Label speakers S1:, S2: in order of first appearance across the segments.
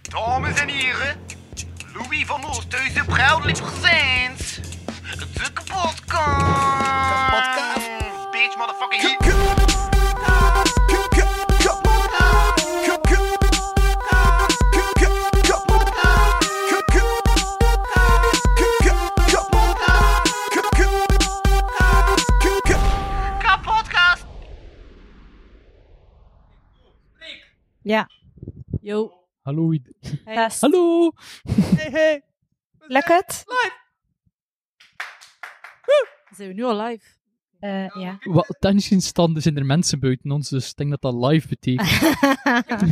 S1: Dames en heren, Louis van Oosthuizen, proudly presents de kapotkast.
S2: Kapotkast.
S1: Bitch, motherfucking hit. Kapotkast.
S3: Ja,
S4: Yo.
S5: Hallo. i-
S3: test.
S5: Hallo.
S4: Hey, hey.
S3: Eh, Lukt het?
S4: Zijn we nu al live?
S3: Eh, ja.
S5: Wat technisch gezien staan- zijn er mensen buiten ons, dus ik denk dat dat live betekent.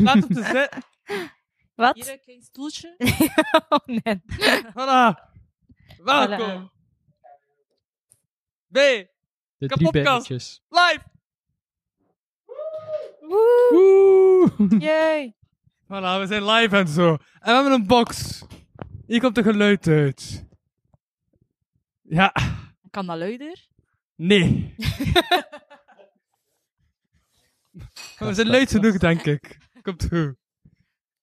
S2: Laat op de zet.
S3: Wat?
S4: Hier een klein stoeltje.
S3: Oh, nee.
S2: Voilà. Welkom
S3: Voilà.
S2: bij
S5: De drie
S2: Kapotkast.
S5: bijtjes.
S2: Live.
S5: Woe.
S3: Jee.
S2: Voilà, we zijn live en zo. En we hebben een box. Hier komt de geluid uit. Ja,
S4: Kan dat luider?
S2: nee. Maar we zijn luid genoeg, denk ik. Komt goed.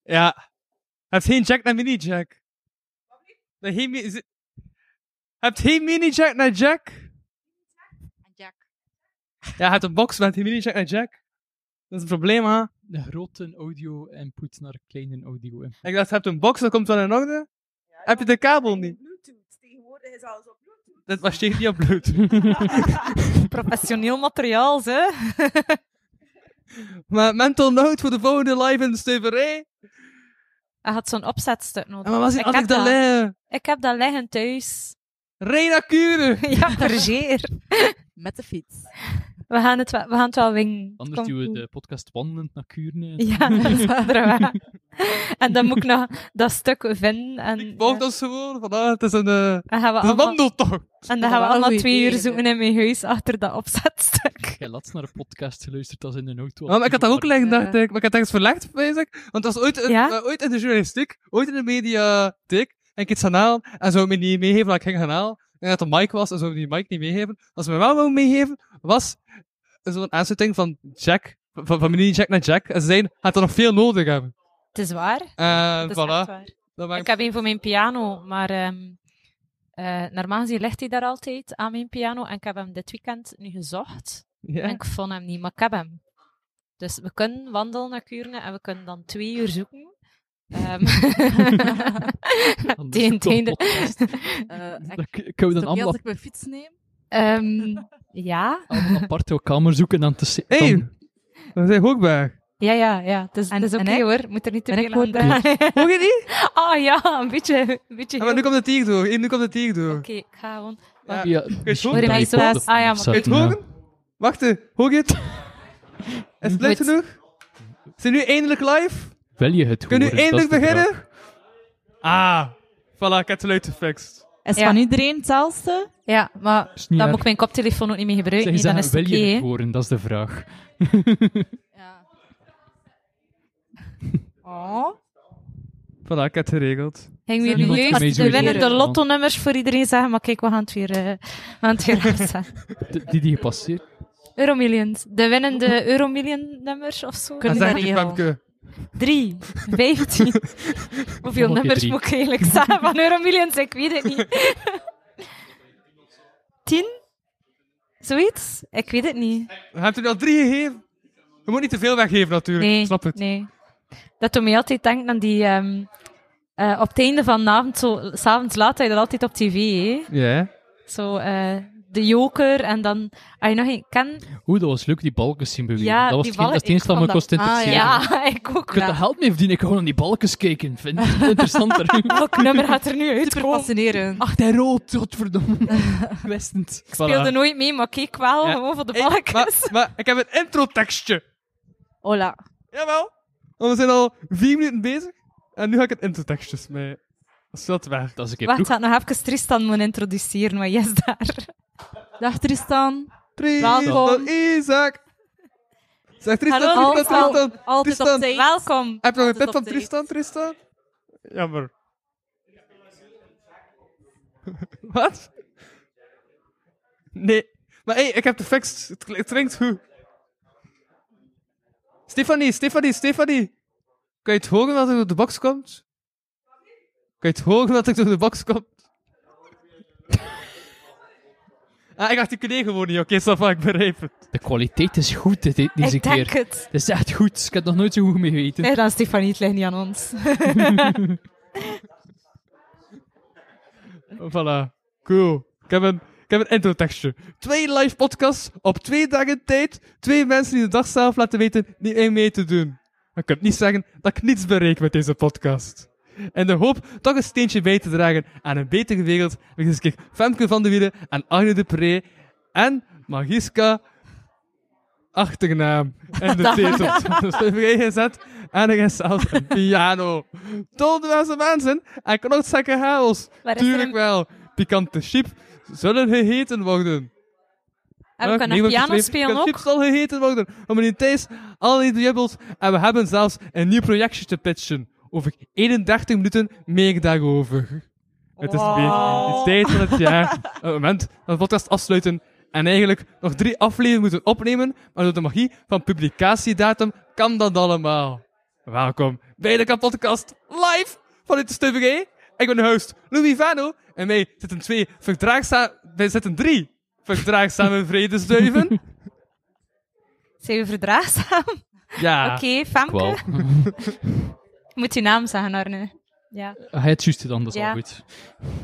S2: Ja. Hebt geen jack naar mini jack? Nee, geen mi- is- Hebt geen mini jack naar jack?
S4: Jack.
S2: Ja, je hebt een box met geen mini jack naar jack. Dat is een probleem, hè?
S5: De grote audio-input naar kleine audio-input.
S2: Ik dacht, je hebt een box, dat komt wel in orde. Heb je de kabel niet?
S6: Bluetooth. Tegenwoordig is alles op Bluetooth.
S2: Dat was tegen niet op Bluetooth.
S3: Professioneel materiaal, ze.
S2: Maar mental note voor de volgende live in de stuiverij.
S3: Hij had zo'n opzetstuk nodig.
S2: En wat was
S3: Ik
S2: het?
S3: heb
S2: Annick de
S3: dat.
S2: Leer.
S3: Ik heb dat liggen thuis.
S2: Reina Kure.
S3: ja, vergeer.
S4: Met de fiets.
S3: We gaan het, wel- we gaan het wel wingen. Het
S5: Anders
S3: komt
S5: doen we eh.
S3: goed.
S5: de podcast wandelend naar Kuurne.
S3: Ja, dat is inderdaad. En dan moet ik nog dat stuk vinden. En, eh,
S2: Ik volg ons gewoon. Vandaag, het is een, eh, het
S3: en gaan we
S2: is een
S3: allemaal,
S2: wandeltocht.
S3: en dan gaan we
S4: Wel een
S3: allemaal
S4: goeie
S3: twee uur
S4: idee,
S3: zoeken in mijn huis achter dat opzetstuk.
S5: Ik heb laatst naar een podcast geluisterd als in de auto.
S2: Ja, maar ik had dat ook liggen,
S4: Ja.
S2: dacht ik. Maar ik had ergens verlegd, weet ik. Want dat was ooit,
S3: Ja?
S2: eh, ooit in de journalistiek, ooit in de mediatheek. En ik iets gaan halen. En zou me niet meegeven dat ik ging gaan halen. En dat de mic was, en zou me die mic niet meegeven. Wat ze me wel wou meegeven, was zo'n aansluiting van Jack. Van, van meneer Jack naar Jack. En ze zeiden, gaat er nog veel nodig hebben.
S3: Het is waar.
S2: En
S3: Het is echt
S2: voilà.
S3: waar.
S2: Dat maakt-
S3: Ik heb een voor mijn piano, maar ehm eh normaal gezien ligt hij daar altijd aan mijn piano. En ik heb hem dit weekend nu gezocht.
S2: Ja.
S3: En ik vond hem niet, maar ik heb hem. Dus we kunnen wandelen naar Kuurne en we kunnen dan twee uur zoeken. Ehm
S5: Anders
S3: tegen het
S5: doet dat
S3: einde.
S5: podcast.
S4: Eh,
S5: Dan
S4: ik,
S5: k- kunnen we
S4: is het
S5: dan
S4: oké
S5: allemaal,
S4: als ik mijn fiets neem?
S3: Ehm, ja,
S5: allemaal apart jouw kamer zoeken en te si- dan
S2: Hey, we zijn ook bij.
S3: ja, ja, ja. Het is,
S4: En-
S3: het is
S4: en
S3: oké
S4: ik?
S3: hoor. Moet er niet te
S4: Ben
S3: veel
S4: ik gewoon
S3: aan draaien.
S2: Hoor je niet?
S3: Ah ja, een beetje. Een beetje
S2: Ja, maar nu
S3: heel-
S2: komt de tegen door. Hier, nu komt de tegen door.
S3: Oké, ik ga gewoon.
S2: Ja.
S5: via
S2: je het
S5: misschien
S2: horen?
S5: dat
S3: Hoor je
S5: je
S3: mij
S5: podcast
S3: zo? Ah ja, maar-
S5: opzetten,
S2: Kun je het horen? Wacht, eh, hoor je het? Is het luid
S3: Goed.
S2: genoeg? Zijn we nu eindelijk live?
S5: Wil je het
S2: Kunnen
S5: horen?
S2: we nu eindelijk
S5: Dat is de vraag.
S2: beginnen? Ah, voilà, ik heb het luid gefixt.
S4: Is
S3: Ja.
S4: van iedereen hetzelfde?
S3: Ja, maar
S5: Is
S3: dan
S5: niet erg.
S3: moet ik mijn koptelefoon ook niet meer gebruiken.
S5: Zeg
S3: Nee,
S5: eens
S3: dan
S5: aan,
S3: is het
S5: wil
S3: oké.
S5: je
S3: hè.
S5: het horen? Dat is de vraag.
S4: Ja. Oh.
S2: Voilà, ik heb het geregeld.
S3: Gingen we hier nu
S4: Zijn niemand
S5: die
S3: juist
S5: mee
S3: de
S5: zou
S3: winnende
S4: reageren?
S3: lotto-nummers voor iedereen zeggen, maar kijk, we gaan het weer, eh, we gaan het weer afzetten.
S5: De- Die die gepasseerd.
S3: Euromillions. De winnende Euromillion-nummers of zo.
S2: En
S4: Kunnen
S2: Ah, zeg
S4: we
S2: het je,
S4: regelen?
S2: Femke.
S3: Drie, vijftien. Hoeveel
S5: Nog een keer
S3: nummers
S5: drie.
S3: moet ik eigenlijk zeggen van Euromillions? Ik weet het niet. Tien? Zoiets? Ik weet het niet.
S2: Hebt u er al drie gegeven? Je moet niet te veel weggeven, natuurlijk.
S3: Nee,
S2: Snap het?
S3: nee. Dat doet mij altijd denken aan die... ehm, eh, op het einde van de avond, zo, s'avonds laat, had je dat altijd op tv, hè?
S2: Ja.
S3: Zo, eh, de joker en dan... Als je nog een... Ken,
S5: Oeh, dat was leuk, die balken zien bewegen.
S3: Ja,
S5: dat was
S3: die
S5: hetgeen- dat is het
S3: balken,
S5: enige dat
S3: ik vond
S4: dat-
S5: me kost
S4: Ah,
S5: interesseren.
S3: Ja, ik ook.
S5: Ik kan
S3: Ja.
S5: dat geld mee verdienen, ik gewoon aan die balkens kijken. Vind ik interessanter.
S3: Welk nummer gaat er nu uit?
S4: Super fascinerend.
S5: Ach, hij rood, godverdomme. Westend.
S3: Ik speelde nooit mee, maar keek wel
S2: Ja.
S3: gewoon voor de
S2: Ik,
S3: balkjes.
S2: maar, maar ik heb een intro-tekstje.
S4: Hola.
S2: Jawel. Want we zijn al vier minuten bezig. En nu ga ik het intro-tekstjes mee. Als dat werkt.
S5: Dat is een keer
S3: Wacht, ik
S5: vroeg.
S3: ga nog even Tristan moeten introduceren, maar yes, daar.
S4: Dag Tristan.
S2: Tristan
S4: Welkom.
S2: Isaac. Zeg Tristan,
S3: Hallo,
S2: Tristan,
S3: Tristan.
S2: Tristan.
S4: Altijd
S2: Tristan.
S4: op tijd.
S3: Welkom.
S2: Heb je nog een
S4: Altijd
S2: tip
S4: op
S2: van
S4: tijd.
S2: Tristan, Tristan? Jammer. Wat? Nee. Maar hé, hey, ik heb de fix. Het, kl- het klinkt goed. Stefanie, Stefanie, Stefanie. Kan je het horen als het op de box komt? Kan je het horen dat ik door de box kom? ah, ik articuleer gewoon niet. Oké, okay, ik begreep het.
S5: De kwaliteit is goed dit- dit- deze
S3: ik
S5: keer.
S3: denk het.
S5: Het is echt goed. Ik heb nog nooit zo goed mee geweten.
S3: Nee, dan Stefanie, het ligt niet aan ons.
S2: Voilà. Cool. Ik heb een, ik heb een intro tekstje. Twee live podcasts op twee dagen tijd. Twee mensen die de dag zelf laten weten niet één mee te doen. Maar ik kan niet zeggen dat ik niets bereik met deze podcast. In de hoop toch een steentje bij te dragen aan een betere wereld, heb ik deze keer Femke van de Wielen en Arne de Pre en Magiska achternaam en de titel. Dus even gezet en er is zelfs een piano. Toldenwijze mensen en knotszakken chaos.
S3: Maar is er
S2: Tuurlijk
S3: een-
S2: wel. Pikante sheep zullen geheten worden.
S3: en we
S2: Ja,
S3: kunnen
S2: niemand
S3: piano
S2: betwijfelt,
S3: spelen
S2: pikante
S3: ook.
S2: sheep zal geheten worden. We meneer Thijs, al die dubbels. En we hebben zelfs een nieuw projectje te pitchen. Over 31 minuten meer daarover. Het is weer de tijd van het jaar. Het moment dat we de podcast afsluiten. En eigenlijk nog drie afleveringen moeten opnemen. Maar door de magie van publicatiedatum kan dat allemaal. Welkom bij de podcast live vanuit de Stubberij. Ik ben de host Louis Vano. En mij zitten twee verdraagza- Wij zitten drie verdraagzame vredesduiven.
S3: Zijn we verdraagzaam?
S2: Ja.
S3: Oké, Femke.
S5: Ah, Wel.
S3: Moet je naam zeggen, Arne. Ja.
S5: Hij het juist dan, dat is
S3: Ja.
S5: al goed.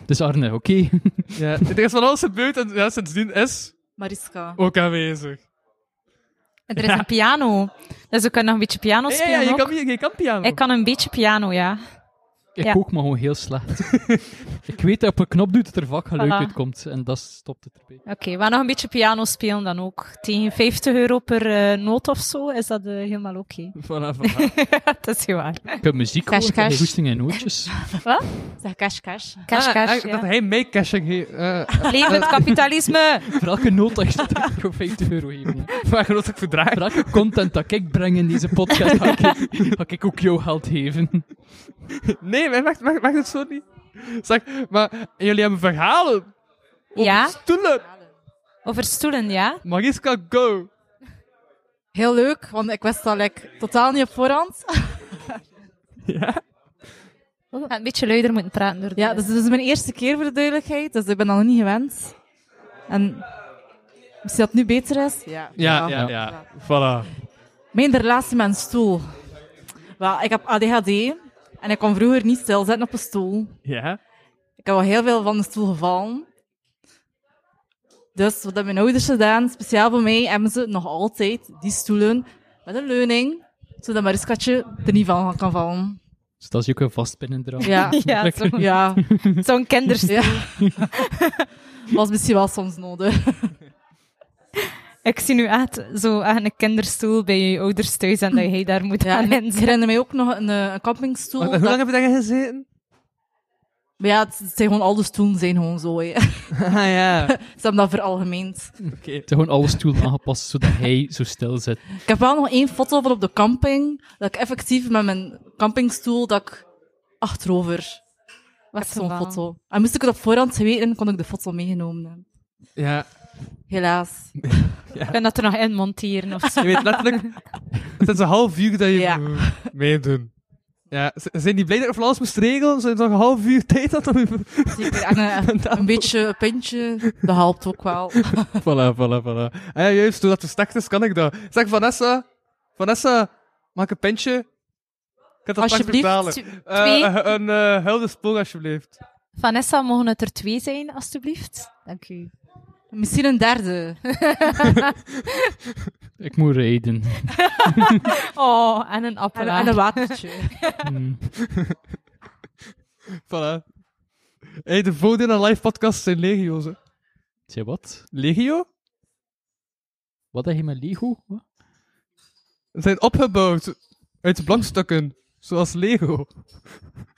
S5: Dus Arne, oké.
S2: ja. Het is van alles gebeurd en ja, sindsdien is
S4: Mariska.
S2: ook aanwezig.
S3: En Er is een piano. Dus we kunnen nog een beetje piano
S2: Ja, ja,
S3: spelen
S2: je
S3: ook.
S2: kan, je, je kan piano.
S3: Ik kan een beetje piano, ja.
S5: Ik
S3: Ja.
S5: ook, maar gewoon heel slecht. ik weet dat op een knop doet dat er vaak geluid
S3: Voilà.
S5: uitkomt. En dat stopt het erbij.
S3: Oké, we gaan nog een beetje piano spelen dan ook. Tegen 50 euro per eh, noot of zo is dat eh, helemaal oké.
S2: Voilà, voilà.
S3: dat is heel waar.
S5: Ik heb muziek
S4: Cash,
S5: gehoord, ik heb
S4: cash.
S5: goesting en nootjes.
S4: Zeg cash, cash.
S3: Cash,
S2: Ah,
S3: cash,
S2: eigenlijk
S3: ja.
S2: Dat hij mee cashing heeft. eh,
S3: Leven het kapitalisme!
S5: Voor elke noot dat je zet, kan ik gewoon 50 euro geven.
S2: Waar groot ik verdraag.
S5: Voor elke content dat ik breng in deze podcast, ga ik, ga ik ook jou geld geven.
S2: Nee, maar wacht, wacht, wacht, het zo niet. Zeg, maar jullie hebben verhalen. Over
S3: Ja.
S2: Stoelen.
S3: Over stoelen, ja?
S2: Mariska, go.
S4: Heel leuk, want ik wist dat like, totaal niet op voorhand.
S3: Ik ga een beetje luider moeten praten door de-
S4: Ja, dus dit is mijn eerste keer voor de duidelijkheid, dus ik ben dat nog niet gewend. En misschien dat het nu beter is. Ja,
S5: ja,
S2: Voilà.
S4: Mijn relatie met een stoel. Wel, ik heb ADHD en ik kon vroeger niet stilzitten op een stoel.
S2: Ja.
S4: Ik heb al heel veel van de stoel gevallen. Dus wat hebben mijn ouders gedaan, speciaal voor mij, hebben ze nog altijd die stoelen met een leuning, zodat Mariskatje er niet van kan vallen.
S5: Dus dat is ook een vast binnendraad.
S4: Ja,
S3: Ja, zo-
S4: ja,
S3: zo'n kinderstoel.
S4: ja. Was misschien wel soms nodig.
S3: Ik zie nu echt zo aan een kinderstoel bij je ouders thuis en dat jij daar moet
S4: Ja,
S3: aan
S4: en
S3: in
S4: ik herinner mij ook nog een, eh, een
S2: Wacht,
S4: campingstoel.
S2: hoe lang
S4: dat-
S2: heb je daar gezeten?
S4: Maar ja, het het zijn gewoon, al de stoelen zijn gewoon zo. hè. Ze
S2: Ah ja.
S4: hebben dat veralgemeend.
S2: Oké.
S5: Het is gewoon alle stoelen aangepast, zodat hij zo stil zit.
S4: Ik heb wel nog één foto van op de camping, dat ik effectief met mijn campingstoel, dat ik achterover... Dat is zo'n
S3: Weggevallen.
S4: foto. En moest ik het op voorhand weten, kon ik de foto meegenomen hebben.
S2: Ja.
S4: Helaas.
S3: Ik kan dat er nog in monteren of zo.
S2: Je weet letterlijk... Het is een half uur dat je
S4: Ja.
S2: moet meedoen. Ja. z- Zijn die blij dat je van alles moest regelen? Zijn het nog een half uur tijd dat om je...
S4: Zeker. En eh, een, beetje een pintje, dat helpt ook wel.
S2: Voilà, voilà, voilà. Ah ja, juist, doordat het start is, kan ik dat. Zeg, Vanessa, Vanessa, maak een pentje. Ik kan dat straks
S4: Alsjeblieft,
S2: betalen.
S3: Tw-
S2: Eh,
S3: twee.
S2: eh, een eh huildespoor, alsjeblieft.
S3: Vanessa, mogen het er twee zijn, alstublieft? Dank u.
S4: Misschien een derde.
S5: Ik moet rijden.
S3: Oh, en een
S4: En,
S3: appel.
S4: en een watertje.
S5: Hmm.
S2: Voilà. Hey, de voordelen aan live podcasts zijn legio's. Hè.
S5: Zeg wat?
S2: Legio?
S5: Wat heb je met Lego? Wat?
S2: Ze zijn opgebouwd uit blankstukken, zoals Lego.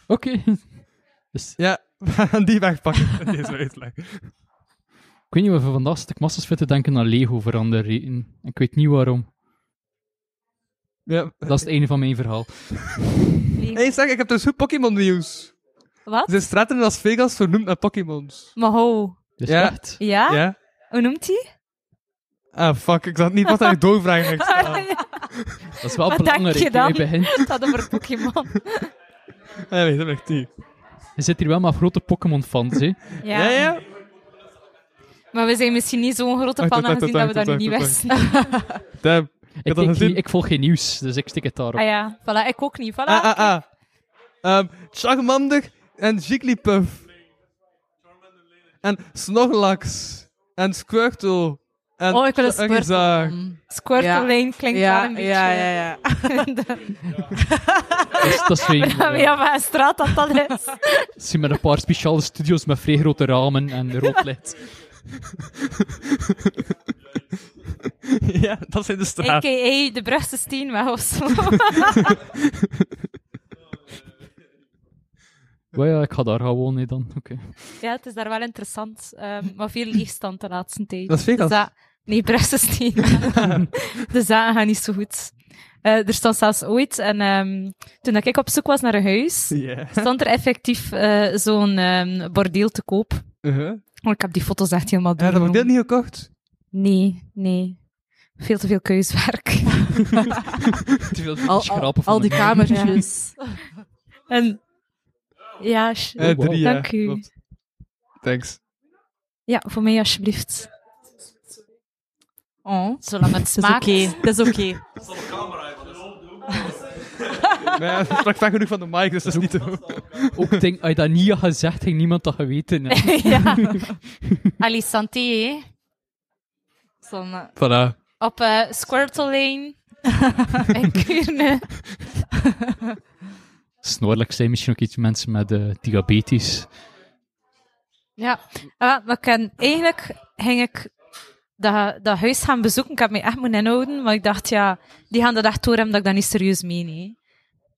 S5: Oké. Dus,
S2: Ja, we gaan die wegpakken in deze uitleg.
S5: ik weet niet wat we vandaag zitten. Ik massas fit te denken aan Lego voor andere redenen. En Ik weet niet waarom.
S2: Ja.
S5: Dat is het einde van mijn verhaal.
S2: Hey, zeg, ik heb dus goed Pokémon nieuws. Er
S3: Wat?
S2: zijn straten in Las Vegas vernoemd naar Pokémons.
S3: Maar ho.
S5: Dus
S2: Ja.
S5: echt?
S4: Ah.
S3: Ja?
S2: Ja?
S3: Hoe noemt hij?
S2: Ah, fuck, ik zat niet wat aan je doorvragen ging stellen.
S5: Dat is wel
S3: Wat denk
S5: belangrijk.
S3: je dan?
S5: hè, bij hen.
S3: Het had over Pokémon.
S2: Ah, nee, dat ben ik die.
S5: Je zit hier wel maar grote Pokémon-fans, hè.
S3: Ja. Maar we zijn misschien niet zo'n grote
S2: Wacht,
S3: fan
S2: wacht,
S3: aangezien dat we
S2: wacht,
S3: dat nu
S2: wacht,
S3: niet
S2: wacht,
S3: wisten.
S2: Damn.
S5: Ik,
S2: dat
S5: kijk
S2: gezien.
S5: niet- ik volg geen nieuws, dus ik stik het daarop.
S3: Ah ja, voilà, ik ook niet. Voilà.
S2: Ah, ah, ah. Ehm, Charmander en Jigglypuff. En Snorlax. En Squirtle. En
S4: Oh, ik wil een
S2: Charizard.
S4: Squirtle. Mm.
S3: Squirtle
S4: Ja.
S3: Lane klinkt
S4: Ja,
S3: wel een beetje...
S4: ja, ja, ja.
S5: Dat is, dat is weer-
S3: ja, maar een straat dat dat is.
S5: Het zijn met een paar speciale studio's met vrij grote ramen en rood licht.
S2: ja, dat zijn de straat.
S3: A.k.a. de brugste steenweg of zo.
S5: Wel ja, ik ga daar gewoon nee dan. Oké.
S3: ja, het is daar wel interessant. ehm, maar veel leegstand de laatste tijd.
S2: Dat is Vegas.
S3: Dus dat- nee, Brugse steenweg. de zaken gaan niet zo goed. Eh, er stond zelfs ooit, en ehm, toen dat ik op zoek was naar een huis,
S2: Ja.
S3: stond er effectief eh, zo'n ehm, bordeel te koop.
S2: Uh-huh.
S3: Oh, ik heb die foto's echt helemaal
S2: Ja, dat heb ik dit
S3: doorgenomen.
S2: niet gekocht.
S3: Nee, nee. Veel te veel keuswerk.
S5: Te veel
S4: Al, al,
S5: schrapen van
S4: al die
S5: elkaar.
S4: kamertjes.
S3: en ja, sh-
S2: Eh,
S5: Oh, wow.
S2: drie, ja.
S3: Dank u.
S2: Klopt. Thanks.
S3: ja, voor mij alsjeblieft.
S4: Oh,
S3: Zolang het
S4: dat is oké.
S3: smaakt.
S4: Dat is oké.
S2: Nee, ik sprak vaak genoeg van de mic, dus dat is niet te hoog.
S5: Ook ik denk, als je dat niet had gezegd, ging niemand dat geweten. hebben.
S3: ja. Allee, santé, hè.
S4: Dus dan, eh,
S2: Voilà.
S3: Op eh, Squirtle Lane. en Kuurne.
S5: Snorlijk zijn misschien ook iets mensen met eh, diabetes.
S3: Ja. Ah, maar ik ken- eigenlijk ging ik dat, dat huis gaan bezoeken. Ik heb me echt moeten inhouden, maar ik dacht, ja, die gaan dat echt doorhebben dat ik dat niet serieus meen, hè.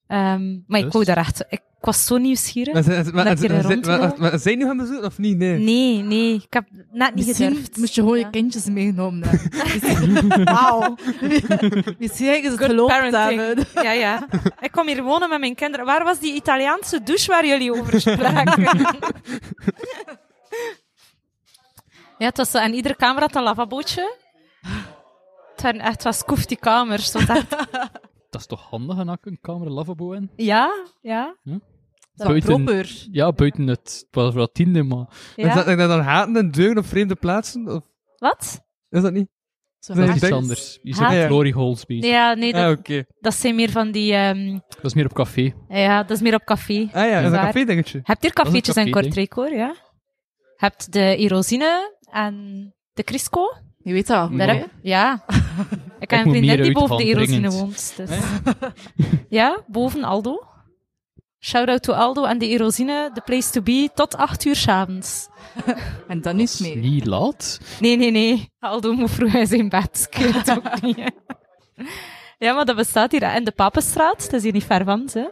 S3: Ehm, maar ik
S5: Dus?
S3: wou daar echt... Ik was zo nieuwsgierig.
S2: Maar, ze- maar,
S3: Lekker
S2: maar-
S3: rond te
S2: maar-
S3: lopen.
S2: maar zijn nu gaan bezoeken of niet? Nee.
S3: Nee, nee. Ik heb net niet
S4: Misschien
S3: gedurfd.
S4: moest je gewoon
S3: Ja.
S4: je kindjes meegenomen hebben. Wauw. Misschien is het
S3: Good
S4: geloofd
S3: parenting.
S4: hebben.
S3: Ja, ja. Ik kom hier wonen met mijn kinderen. Waar was die Italiaanse douche waar jullie over spraken? ja, het was zo, en iedere kamer had een lavabootje. Het waren echt, het was koef die kamers. want echt-
S5: Dat is toch handig, een, een kamer lavabo in?
S3: ja, ja,
S4: Dat is
S5: Buiten-
S4: proper.
S5: Ja, buiten het, het was wel tiende, maar...
S2: Is
S3: ja.
S2: dat, is dat dan haten en deuren op vreemde plaatsen? Of
S3: Wat?
S2: is dat niet?
S4: Zo
S2: Nee,
S5: Dat
S4: hard.
S5: is iets
S2: denk-
S5: anders. Je
S3: Ah,
S5: zit
S2: ja.
S5: op glory holes bezig.
S3: Ja, nee, dat,
S2: Ah, oké.
S3: dat zijn meer van die... ehm,
S5: Dat is meer op café.
S3: ja, dat is meer op café.
S2: Ah ja, dat is een
S3: Waar?
S2: café-dingetje.
S3: Hebt hier
S5: is een
S3: cafeetjes en
S5: café,
S3: Kortrijk, hoor, ja. Hebt de Erosine en de Crisco.
S4: Je weet dat wel.
S7: Mm.
S3: Daar
S5: Ja.
S3: heb- ja. Ik heb
S5: moet
S3: een vriendin
S5: meer
S3: die
S5: uit
S3: boven de
S5: gaan
S3: Erosine
S5: dringend.
S3: woont. Dus. ja, boven Aldo. Shout-out to Aldo en de Erosine, the place to be, tot 8 uur s'avonds.
S4: En dan niet
S5: is
S4: meer.
S5: niet laat.
S3: Nee, nee, nee. Aldo moet vroeg in zijn bed. Ik weet het ook niet. hè. Ja, maar dat bestaat hier in de Papenstraat. Het is hier niet ver van, hè.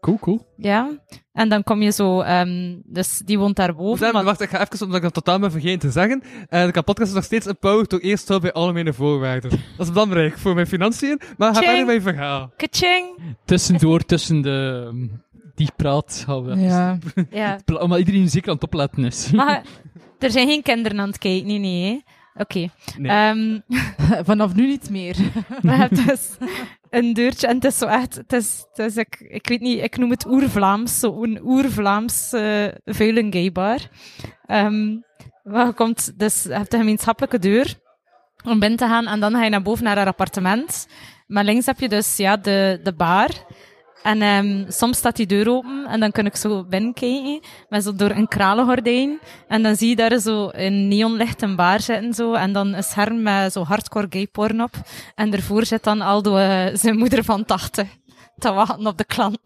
S5: Cool, cool.
S3: Ja. En dan kom je zo... ehm, dus die woont daar boven.
S2: Damn,
S3: maar-
S2: wacht, ik ga even, omdat ik dat totaal ben vergeten te zeggen. Eh de podcast is nog steeds empowered door eerst wel bij algemene voorwaarden. Dat is belangrijk voor mijn financiën, maar ga
S3: Tjing.
S2: verder met je verhaal.
S3: Kaching!
S5: Tussendoor, tussen de... ehm, Die praat gaan we...
S4: Ja.
S3: Ja.
S5: Pla- Omdat iedereen zeker aan het opletten is.
S3: Maar er zijn geen kinderen aan het kijken. Nee, nee. hè. Oké.
S2: Nee.
S3: Ehm,
S4: Vanaf nu niet meer.
S3: Maar je hebt dus een deurtje en het is zo echt, het is, het is ik, ik weet niet, ik noem het oer-Vlaams, zo'n oer-Vlaams eh vuilen gaybar. Ehm, waar je komt, dus je hebt een gemeenschappelijke deur om binnen te gaan en dan ga je naar boven naar haar appartement. Maar links heb je dus ja, de, de bar. En ehm, soms staat die deur open en dan kan ik zo binnenkijken, maar zo door een kralengordijn. En dan zie je daar zo een neonlicht een bar zitten zo, en dan een scherm met zo hardcore gay porn op. En daarvoor zit dan Aldo eh, zijn moeder van 80 te wachten op de klant.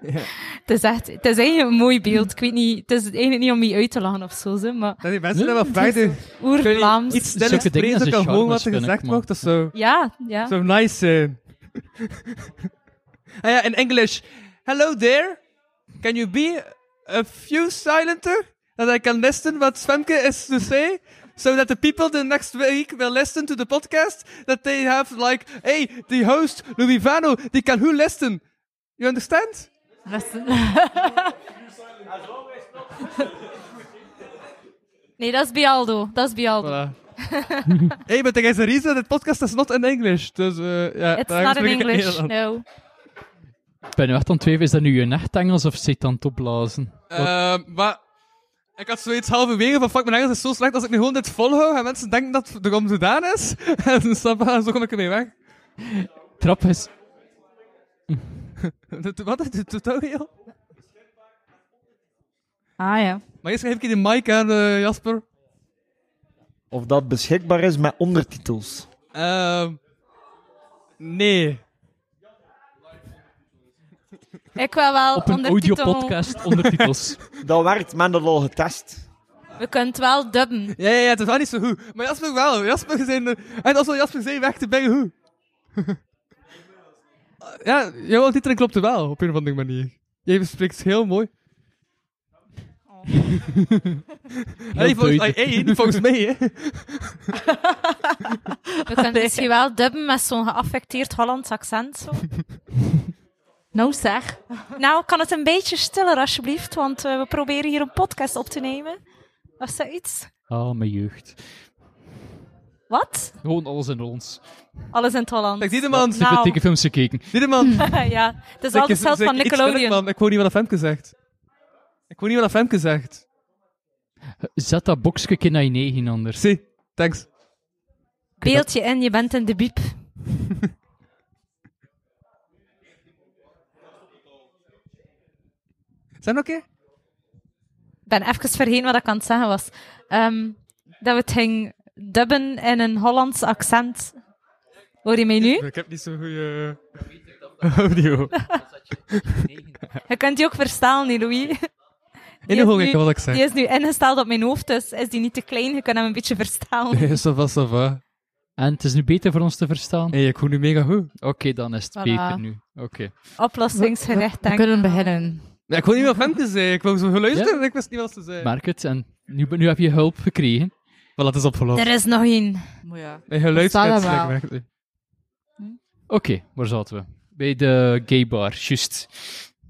S2: Ja.
S3: Het is echt, het is eigenlijk een mooi beeld. Ik weet niet, het is eigenlijk niet om je uit te lachen of zo, ze, maar
S2: Dat die mensen hebben wel verder. Kun je
S3: oer-Vlaams.
S2: Iets sneller
S5: Zulke dingen
S2: spreken, dat
S5: als
S2: ik
S5: een
S2: kan gewoon wat er
S5: charme spin ik,
S2: gezegd
S5: man.
S2: wordt. Dat zou,
S3: Ja, ja.
S2: zou nice eh. zijn. ah ja, in English. Hello there. Can you be a few silenter? That I can listen what Svemke is to say? So that the people the next week will listen to the podcast? That they have like, hey, the host, Louis Vano, they can who listen? You understand?
S3: Nee, dat is Bialdo. Dat is Bialdo.
S2: Voilà. hey, but there is a reason that podcast is not in English. Dus eh ja,
S3: It's
S2: daarom
S3: not in
S2: spreek ik het
S3: English,
S2: Nederlands.
S3: no.
S5: Ik ben nu echt aan het twijfelen, is dat nu je echt Engels of zit aan het opblazen?
S2: Ehm, maar ik had zoiets halverwege van fuck, mijn Engels is zo slecht als ik nu gewoon dit volhoud en mensen denken dat het erom gedaan is. En dan snap je, zo kom ik ermee weg.
S5: Trap is...
S2: De- de- Wat is de tutorial?
S4: Ah ja.
S2: Maar eerst geef ik je de mic aan eh, Jasper.
S8: Of dat beschikbaar is met ondertitels.
S2: Ehm nee.
S3: Ik wil wel
S5: Op een
S3: ondertitel-
S5: audio-podcast ondertitels.
S8: Dat werkt, men dat al getest.
S3: We kunnen het wel dubben.
S2: Ja, ja, ja, het is wel niet zo goed. Maar Jasper wel. Jasper zijn... eh, en als we Jasper zijn weg te brengen, hoe? ja, jouw titeling klopt wel, op een of andere manier. Jij bespreekt heel mooi. hey, volgens,
S5: duidelijk.
S2: hey, hey, volgens mij, hè.
S3: We kunnen misschien wel dubben met zo'n geaffecteerd Hollands accent. Zo.
S4: Nou zeg.
S3: Nou, kan het een beetje stiller alsjeblieft, want eh, we proberen hier een podcast op te nemen. Was dat iets?
S5: Ah, mijn jeugd.
S3: Wat?
S5: Gewoon alles in ons.
S3: Nou. Alles in het Holland.
S2: Zeg, Diedeman,
S5: Ik heb
S3: Nou.
S5: dikke films gekeken.
S2: Diedeman.
S3: ja, het is altijd zelf van Nickelodeon.
S2: man. Ik hoor niet wat Femke zegt. Ik hoor niet wat Femke zegt.
S5: Zet dat boxje in je negen anders.
S2: Zie, thanks.
S3: Beeld je in, je bent in de biep.
S2: Zijn we oké?
S3: Ik ben even vergeten wat ik aan het zeggen was. Ehm, dat we het ging dubben in een Hollands accent. Hoor je mij nu?
S2: Ik heb niet zo'n eh, goede audio.
S3: Je kunt die ook verstaan, hè, Louis.
S2: In
S3: Die is
S2: de hoor
S3: nu-
S2: ik wat ik
S3: Die
S2: zeg.
S3: is nu ingesteld op mijn hoofd, dus is die niet te klein. Je kunt hem een beetje verstaan.
S2: Nee, ça va, ça va.
S5: En het is nu beter voor ons te verstaan?
S2: Hey, ik hoor nu mega goed.
S5: Oké, dan is het
S4: Voilà.
S5: beter nu. Oké.
S3: Oplossingsgericht,
S4: We
S3: denk ik.
S4: kunnen beginnen.
S2: Ja, ik hoor niet wat Femke zei. Ik wou zo geluisterd en ik wist niet wat ze zei.
S5: Merk het. En nu, nu heb je hulp gekregen.
S2: Wel, het is opgelost.
S3: Er is nog één.
S4: Maar ja.
S2: Mijn geluid
S4: Staat dat wel?
S2: werkt niet.
S5: Oké, waar zaten we? Bij de gay bar, juist.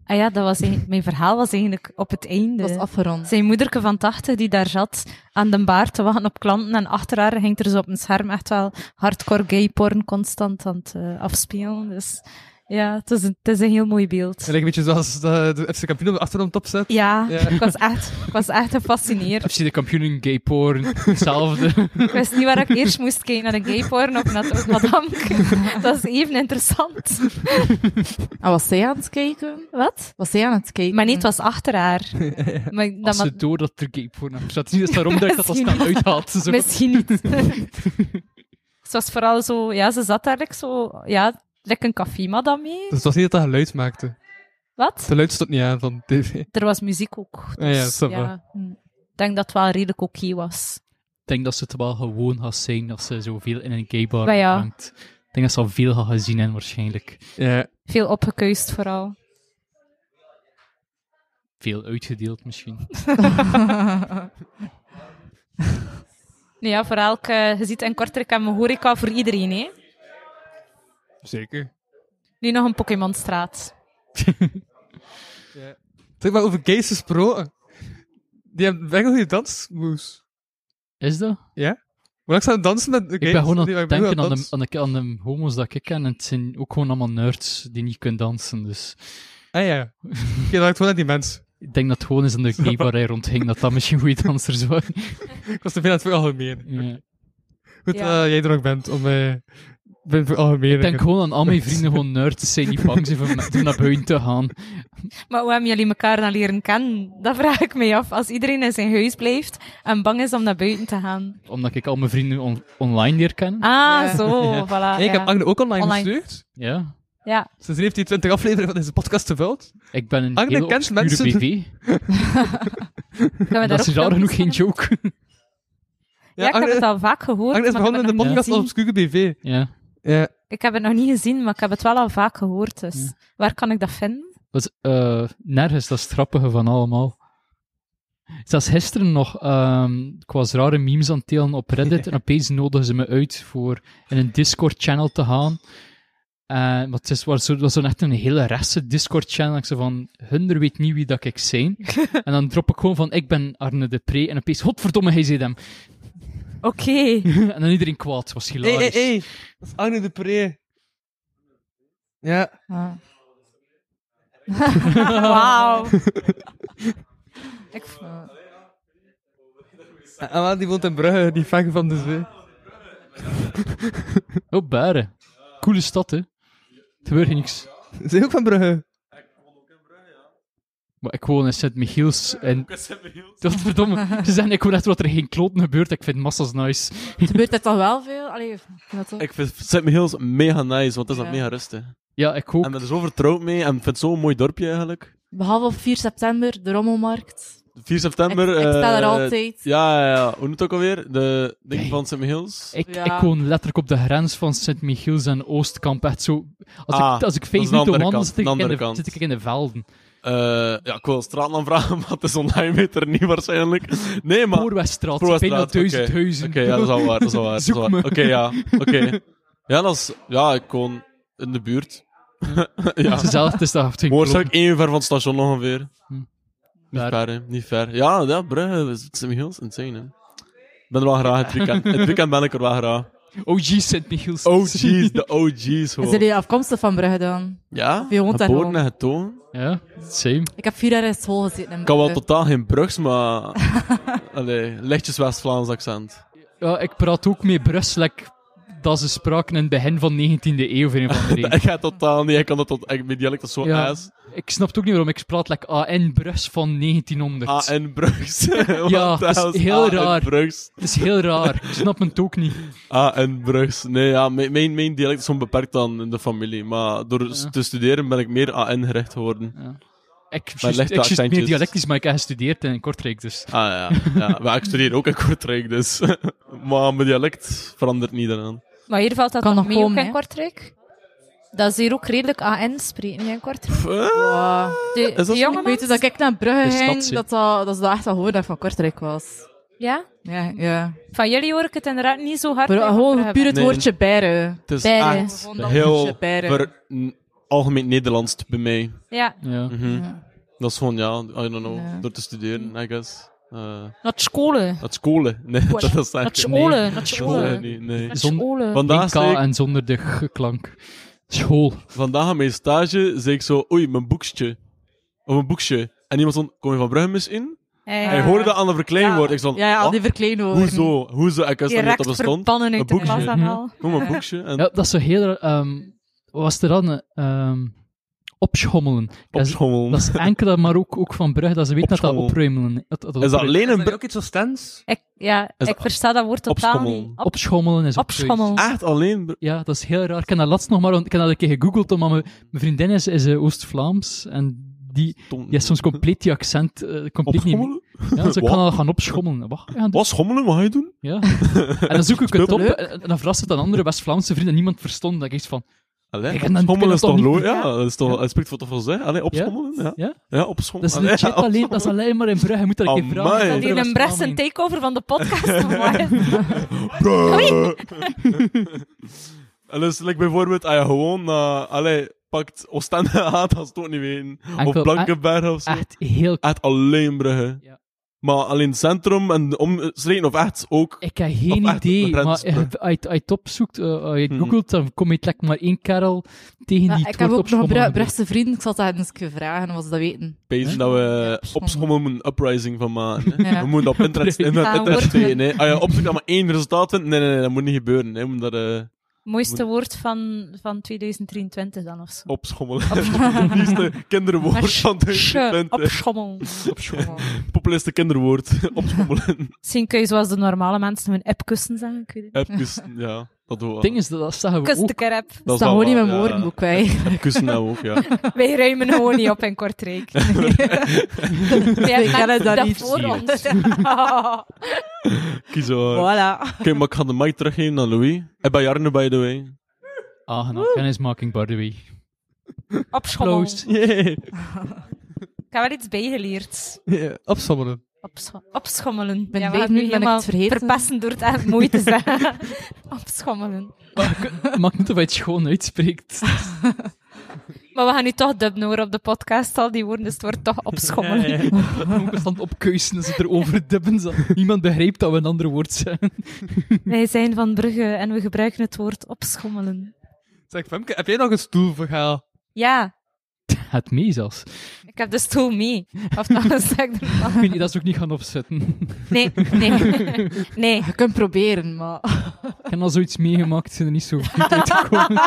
S3: Ah ja, dat was eigenlijk- mijn verhaal was eigenlijk op het einde.
S4: Dat is afgerond.
S3: Zijn moederke van 80 die daar zat aan de bar te wachten op klanten en achter haar ging er zo op een scherm echt wel hardcore gay porn constant aan het eh, afspelen. Dus ja, het is, een, het is een heel mooi beeld.
S2: Het lijkt een beetje zoals de, de FC Kampioen op de achtergrond opzet.
S3: Ja,
S2: Ja.
S3: Ik, was echt, ik was echt gefascineerd.
S5: FC de kampioen, gay porn, hetzelfde.
S3: Ik wist niet waar ik eerst moest kijken, naar de gay porn of naar het Madame. Dat is even interessant.
S4: En was zij aan het kijken?
S3: Wat?
S4: Was zij aan het kijken?
S3: Maar nee, het was achter haar. Maar dat
S5: Als
S3: ma-
S5: ze door dat er gay porn aan zat. Niet eens daarom dat ik dat al snel
S3: Misschien.
S5: uithaalt. Zo.
S3: Misschien niet. ze was vooral zo, ja, ze zat daar like, zo, ja, lekker een café madame mee.
S2: Dus het was niet dat dat geluid maakte. Het
S3: Wat?
S2: geluid stond niet aan van tv.
S3: Er was muziek ook.
S2: Ah ja,
S3: Dus,
S2: ça va.
S3: ja, hm. ik denk dat het wel redelijk oké was.
S5: Ik denk dat ze het wel gewoon gaat zijn als ze zoveel in een gay bar
S3: Maar ja.
S5: hangt. Ik denk dat ze al veel gaat gezien hebben waarschijnlijk.
S2: Ja.
S3: Veel opgekuist vooral.
S5: Veel uitgedeeld misschien.
S3: Nee, ja, voor elke, je ziet in Kortrijk hebben we horeca voor iedereen, hè.
S2: Zeker.
S3: Nu nog een Pokémonstraat.
S2: Zeg maar over gays gesproken. Die hebben wel goede dansmoves.
S5: Is dat?
S2: Maar ik zou dansen met de gays.
S5: Ik ben gewoon aan
S2: die
S5: het
S2: waren goed
S5: denken aan de,
S2: dansen.
S5: aan, de, aan de homo's dat ik ken. En het zijn ook gewoon allemaal nerds die niet kunnen dansen. Dus
S2: Ah ja. Ik dacht gewoon aan die mens.
S5: ik denk dat het gewoon eens in de gay bar hij rondging dat dat misschien goede dansers waren.
S2: Ik was te veel aan het veralgemeen.
S5: Ja.
S2: Goed
S3: Ja.
S2: dat jij er nog bent om mij... Ben veralgemeen.
S5: Ik denk gewoon aan al mijn vrienden gewoon nerds zijn die bang zijn om om naar buiten te gaan.
S3: Maar hoe hebben jullie elkaar dan leren kennen? Dat vraag ik mij af. Als iedereen in zijn huis blijft en bang is om naar buiten te gaan.
S5: Omdat ik al mijn vrienden on- online leer kennen.
S3: Ah, zo, voilà.
S2: ik
S3: ja.
S2: heb Agne ook online,
S3: Online.
S2: gestuurd.
S5: Ja.
S3: ja.
S2: Sindsdien heeft hij 20 afleveringen van deze podcast gevuld.
S5: Ik ben een
S2: Agne
S5: hele
S2: Ah, kent
S5: obscure
S2: mensen.
S5: BV.
S3: Kunnen we daar
S5: Dat is
S3: ook
S5: raar
S3: filmpjes
S5: genoeg geen
S3: van
S5: joke.
S3: Ja, ik heb het al vaak gehoord.
S2: Agne is
S3: maar ik
S2: begonnen in
S3: heb het
S2: de
S3: nog
S2: podcast
S3: niet
S2: op
S3: gezien.
S2: Obscure BV.
S5: Ja.
S2: Ja.
S3: Ik heb het nog niet gezien, maar ik heb het wel al vaak gehoord. Dus
S5: Ja.
S3: waar kan ik dat vinden?
S5: Dat is, eh, nergens, dat is het grappige van allemaal. Zelfs gisteren nog, ehm ik was rare memes aan het delen op Reddit en opeens nodigen ze me uit voor in een Discord-channel te gaan. En want het is, was, zo, was zo echt een hele rechtse Discord-channel. Ik zei van, hunder weet niet wie dat ik zijn. en dan drop ik gewoon van, ik ben Arne de Pre. En opeens, godverdomme, hij zei hem.
S3: Oké.
S5: en dan iedereen kwaad, het was
S2: Hé,
S5: hilarisch.
S2: hé, hé. Dat is Agne de Pre. Ja.
S4: Ah.
S3: Wauw. Ik v-
S2: En en Ah, wel, die woont in Brugge, die vang van de zee.
S5: Oh, Baren. Coole stad, hè. Er gebeurt hier niks.
S2: Is hij ook van Brugge?
S5: Maar ik woon in Sint-Michiels en... Dat verdomme. Ze zeggen, ik hoor echt wat er geen kloten gebeurt. Ik vind massas nice.
S4: Gebeurt dat toch wel veel? Allee, ik vind dat toch-
S7: Ik vind St. Michiels mega nice, want dat is dan
S4: Ja.
S7: mega rustig.
S5: Ja, ik ook.
S7: En ben er zo vertrouwd mee en ik vind het zo'n mooi dorpje eigenlijk.
S4: Behalve op 4 september, de rommelmarkt.
S7: 4
S4: Ik,
S7: september.
S4: ik sta er
S7: eh,
S4: altijd.
S7: Ja, ja, ja. Hoe noemt het ook alweer? De ding
S5: Nee.
S7: van St. Michiels.
S5: Ik,
S4: Ja.
S5: ik woon letterlijk op de grens van Sint-Michiels en Oostkamp. Echt zo... Als
S7: Ah,
S5: ik, als ik
S7: is
S5: vijf
S7: de andere
S5: minuten wandel,
S7: kant,
S5: zit ik,
S7: de
S5: in
S7: andere
S5: de,
S7: kant.
S5: zit ik in de velden.
S7: Eh, ja, ik wil straatnaam vragen, maar het is online meter niet waarschijnlijk. Nee, maar...
S5: Spoorwegstraat, bijna
S7: Spoorwegstraat,
S5: duizend
S7: oké.
S5: huizen.
S7: Oké, ja, dat is al waar, dat is al waar. dat is
S5: Zoek
S7: al waar.
S5: me.
S7: Oké, ja, oké. Ja, dat is... Ja, ik woon in de buurt. ja.
S5: Zelf is dat geen
S7: Moors
S5: kloten.
S7: ik één uur ver van het station ongeveer.
S5: Hm.
S7: Niet
S5: Daar.
S7: ver, hè. Niet ver. Ja, ja Brugge, is- St. Michiels, insane, hè. Ik ben er wel graag het weekend. het weekend ben ik er wel graag.
S5: OG Sint-Michiels.
S7: Oh. OG's, de OG's
S4: Zijn
S7: gewoon.
S4: jullie afkomstig van Brugge dan?
S7: Ja,
S4: je woont daar
S7: geboren
S4: gewoon?
S7: en getogen.
S5: Ja, same.
S4: Ik heb vier jaar in school gezeten. in
S7: Ik kan wel
S4: Brugge.
S7: totaal geen Brugs, maar... Allee, lichtjes West-Vlaams accent.
S5: Ja, ik praat ook mee Brussel. like, dat ze spraken in het begin van 19e eeuw, voor een van de reden.
S7: Ik ga totaal niet, ik kan dat tot... Ik, mijn dialect is zo
S5: Ja.
S7: ass.
S5: Ik snap het ook niet waarom ik praat like AN Brus van 1900.
S7: AN Brugs.
S5: Ja, dat is heel raar.
S7: Brugs.
S5: Het is heel raar. Ik snap het ook niet.
S7: AN Ah, Brugs. Nee, ja, mijn, mijn, mijn dialect is onbeperkt dan in de familie. Maar door s-
S5: Ja.
S7: te studeren ben ik meer AN gericht geworden.
S5: Ik
S7: Maar
S5: juist-
S7: leg
S5: ik
S7: de
S5: juist
S7: accentjes.
S5: meer dialectisch, maar ik heb gestudeerd in Kortrijk, dus...
S7: Ah ja, ja. maar ik studeer ook in Kortrijk, dus. maar mijn dialect verandert niet daaraan.
S3: Maar hier valt dat
S4: Kan
S3: nog
S4: nog
S3: mee ook
S4: komen,
S3: in
S4: hè?
S3: Kortrijk. Dat is hier ook redelijk AN spreken hè, in Kortrijk.
S7: Pff, eh,
S4: Wow.
S3: De,
S7: dat
S3: de
S7: zo?
S3: jonge
S4: Ik weet
S3: mensen-
S4: dus dat ik naar Brugge
S5: De stad,
S4: ging,
S5: zie.
S4: dat dat, dat, ze dat echt al hoorde dat ik van Kortrijk was.
S3: Ja?
S4: Ja, ja.
S3: Van jullie hoor ik het inderdaad niet zo hard.
S4: Maar
S3: hè,
S4: gewoon
S3: Brugge.
S4: puur het
S7: Nee.
S4: woordje beren.
S7: Het is
S3: Beren.
S7: echt
S4: Gewoon dat
S7: heel
S4: woordje beren.
S7: ver- n- algemeen Nederlands bij mij.
S3: Ja.
S5: Ja.
S7: Mhm.
S4: Ja.
S7: Dat is gewoon, ja, I don't know,
S4: Ja.
S7: door te studeren, I guess. Eh
S3: Naar scholen.
S7: dat scholen. Nee, dat is
S3: Naar
S7: eigenlijk...
S3: scholen. Naar
S7: Nee,
S3: scholen.
S7: nee, nee.
S3: Naar
S5: Zon-
S3: scholen.
S5: Vandaag
S7: Vandaag zei ik-
S5: en zonder de g-klank. School.
S7: vandaag aan mijn stage zei ik zo, oei, mijn boekstje. Of mijn boekje. En iemand van, kom je van Brugge in?
S3: Hey.
S7: Hij hoorde dat aan de verkleinwoord. Ik zo,
S4: Ja, ja,
S7: "Wat?
S4: die verkleinwoorden.
S7: Ah. hoezo? Hoezo? Ik wist dat niet
S3: Direct
S7: dat bestond.
S3: verbannen uit de
S7: Een
S3: klas
S7: boekje.
S3: dan al.
S7: Kom, mijn boekje. En
S5: Ja, dat is zo heel... raar, ehm, wat was er dan? eh, ehm, opschommelen. Dat is-
S7: opschommelen.
S5: Dat is enkele, maar ook, ook van Brugge, dat ze weten dat dat
S7: Opschommel.
S5: opruimelen... Dat,
S7: Is dat alleen een...
S2: Is dat
S7: Bru-
S2: ook iets van Stens?
S3: Ik, ja, ik
S7: Is dat-
S3: versta dat woord totaal
S7: opschommel.
S3: niet. Op,
S5: Opschommelen is ook zoiets.
S3: opschommel.
S7: Echt alleen... Bru-
S5: Ja, dat is heel raar. Ik heb dat laatst nog maar... Ik heb dat een keer gegoogeld, omdat mijn, mijn vriendin is, is eh, Oost-Vlaams. En die,
S7: Tom-
S5: die heeft soms compleet die accent... eh, compleet
S7: Opschommelen?
S5: Niet, ja, dus ik kan
S7: Wat?
S5: dat gaan opschommelen. Wacht, ja,
S7: Wat? Schommelen? Wat ga je doen?
S5: ja. En dan zoek ik het op.
S7: Speelt dat
S5: En en dan verrast het aan andere West-Vlaamse vrienden. en Niemand verstond. Dat ik echt van...
S7: Allee,
S5: Ik heb dat-
S7: opschommelen
S5: ik
S7: is
S5: heb dat
S7: toch...
S5: toch
S7: lo-
S5: niet-
S7: Ja, dat is toch...
S5: Ja.
S7: Het spreekt voor toch wel zeggen? Allee, opschommelen? Ja.
S5: Ja?
S7: Ja,
S5: Dat is,
S7: opschommelen.
S5: legit
S7: Allee,
S5: alleen, dat is alleen maar in Brugge. Je moet dat een keer vragen.
S7: Amai.
S5: Dat
S3: Die een Brechts een takeover van de podcast te maken.
S7: Bruh. en dus, like, bijvoorbeeld, als je gewoon, eh allee, pakt Oostende aan, dat is het ook niet weten.
S5: Enkel- eh,
S7: of Blankenberg of zo. Echt,
S5: Echt heel...
S7: alleen Brugge.
S5: Ja.
S7: Maar alleen het centrum en de omstreken, of echt ook.
S5: Ik heb geen
S7: echt
S5: idee,
S7: de
S5: maar als
S7: grens,
S5: je als je het opzoekt, eh, als
S7: Hmm.
S5: je het googelt, dan kom je like, maar één kerel tegen
S4: Ja,
S5: die
S4: ik
S5: het
S4: heb
S5: woord
S4: ook nog een Bru-
S5: opschommelen
S4: Brugse vriend. Ik zal dat eens een keer vragen, als ze dat weten.
S7: Bezig
S5: Hè?
S7: dat we
S4: Ja,
S7: opschommelen een uprising van maken. hè.
S4: Ja.
S7: We moeten op Pinterest, in
S3: Ja,
S7: dat Pinterest
S3: wordt-
S7: steken, hè. Ah, Als je opzoekt dat maar één resultaat vindt, nee, nee, nee, dat moet niet gebeuren. Hè. We moeten dat eh,
S3: Mooiste woord van, van 2023 dan of zo.
S7: opschommelen. Het liefste kinderwoord van
S3: Sche,
S7: 2020.
S3: opschommel.
S7: Populairste kinderwoord. opschommelen.
S3: Misschien kun je zoals de normale mensen hun app kussen zeggen. Ik weet het niet.
S7: Even, ja, dat doen we.
S5: Het ding is, dat, dat zeggen we
S3: Kus
S5: ook.
S3: de kerap.
S4: Dat staat gewoon in mijn woordenboek wij.
S7: Kussen nou ook, ja.
S3: Wij ruimen gewoon niet op in Kortrijk.
S4: Ik ken het dan niet.
S3: voor ons.
S7: Kies hoor.
S4: Voilà.
S7: Oké, maar ik ga de mic teruggeven aan Louis. En bij Jarne, by the way.
S5: Aangenaam, kennismaking, by the way.
S3: Opschommel.
S5: Close.
S3: Ik heb wel iets bijgeleerd.
S2: Ja, opschommelen.
S3: Opscho- opschommelen.
S4: ben
S3: ja, we
S4: vijf
S3: gaan nu
S4: minuten, ben ik
S3: helemaal
S4: het vergeten.
S3: verpesten door het echt mooi te zeggen. opschommelen.
S5: Maakt niet of hij het schoon uitspreekt.
S3: Maar we gaan nu toch dubben hoor op de podcast al die woorden, dus het wordt toch opschommelen.
S5: We moeten stand op keuzen als ze het erover dubben. zodat Niemand begrijpt dat we een ander woord zeggen.
S3: Wij zijn van Brugge en we gebruiken het woord opschommelen.
S2: Zeg, Femke, heb jij nog een stoelverhaal?
S3: Ja,
S5: Gaat mee zelfs.
S3: Ik heb de stoel mee. Of dan zeg ik ervan.
S5: Ik weet niet, dat ze ook niet gaan opzetten.
S3: Nee, nee. Nee.
S4: Je kunt proberen, maar...
S5: Ik heb al zoiets meegemaakt, ze zijn er niet zo goed uitgekomen.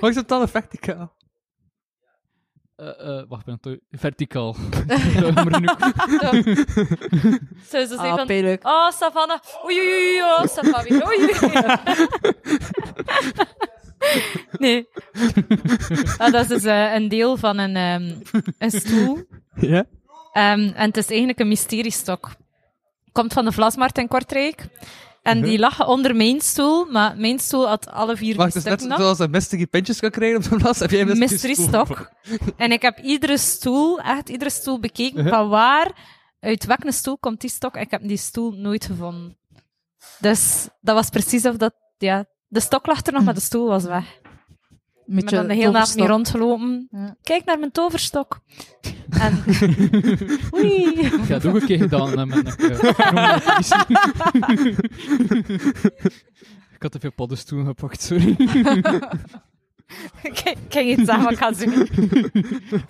S2: Horizontale verticaal.
S5: Eh, eh, wacht, ben ik toch- verticaal. Jammer genoeg.
S3: Zou ze zeggen
S4: Ah,
S3: van...
S4: pijnlijk.
S3: Oh, Savannah. Oei, oei, oei, oh, Savannah weer. Oei, oei. Nee. Ah, dat is dus eh, een deel van een, ehm, een stoel.
S2: Ja?
S3: Ehm, en het is eigenlijk een mysteriestok. Komt van de Vlasmarkt in Kortrijk. En die lag onder mijn stoel, maar mijn stoel had alle vier
S2: Mhm. Wacht,
S3: die
S2: dus net
S3: stukken
S2: zoals een mystery pintjes kan krijgen op zo'n plaats, heb jij een
S3: nog.
S2: mystery,
S3: Mystery
S2: stoel.
S3: stok. En ik heb iedere stoel, echt iedere stoel bekeken,
S2: Mhm.
S3: van waar, uit welke stoel komt die stok. En ik heb die stoel nooit gevonden. Dus dat was precies of dat, ja, de stok lag er
S2: Mhm.
S3: nog, maar de stoel was weg.
S4: Een
S3: Ik ben
S4: beetje
S3: dan de hele nacht mee
S4: toverstok.
S3: rondgelopen.
S4: Ja.
S3: Kijk naar mijn toverstok. En... Oei.
S5: Ik heb het ook een keer gedaan, hè, eh, met een, Ik had te veel paddenstoelen gepakt, sorry.
S3: Kijk, kijk iets aan wat ik ga doen.
S5: ik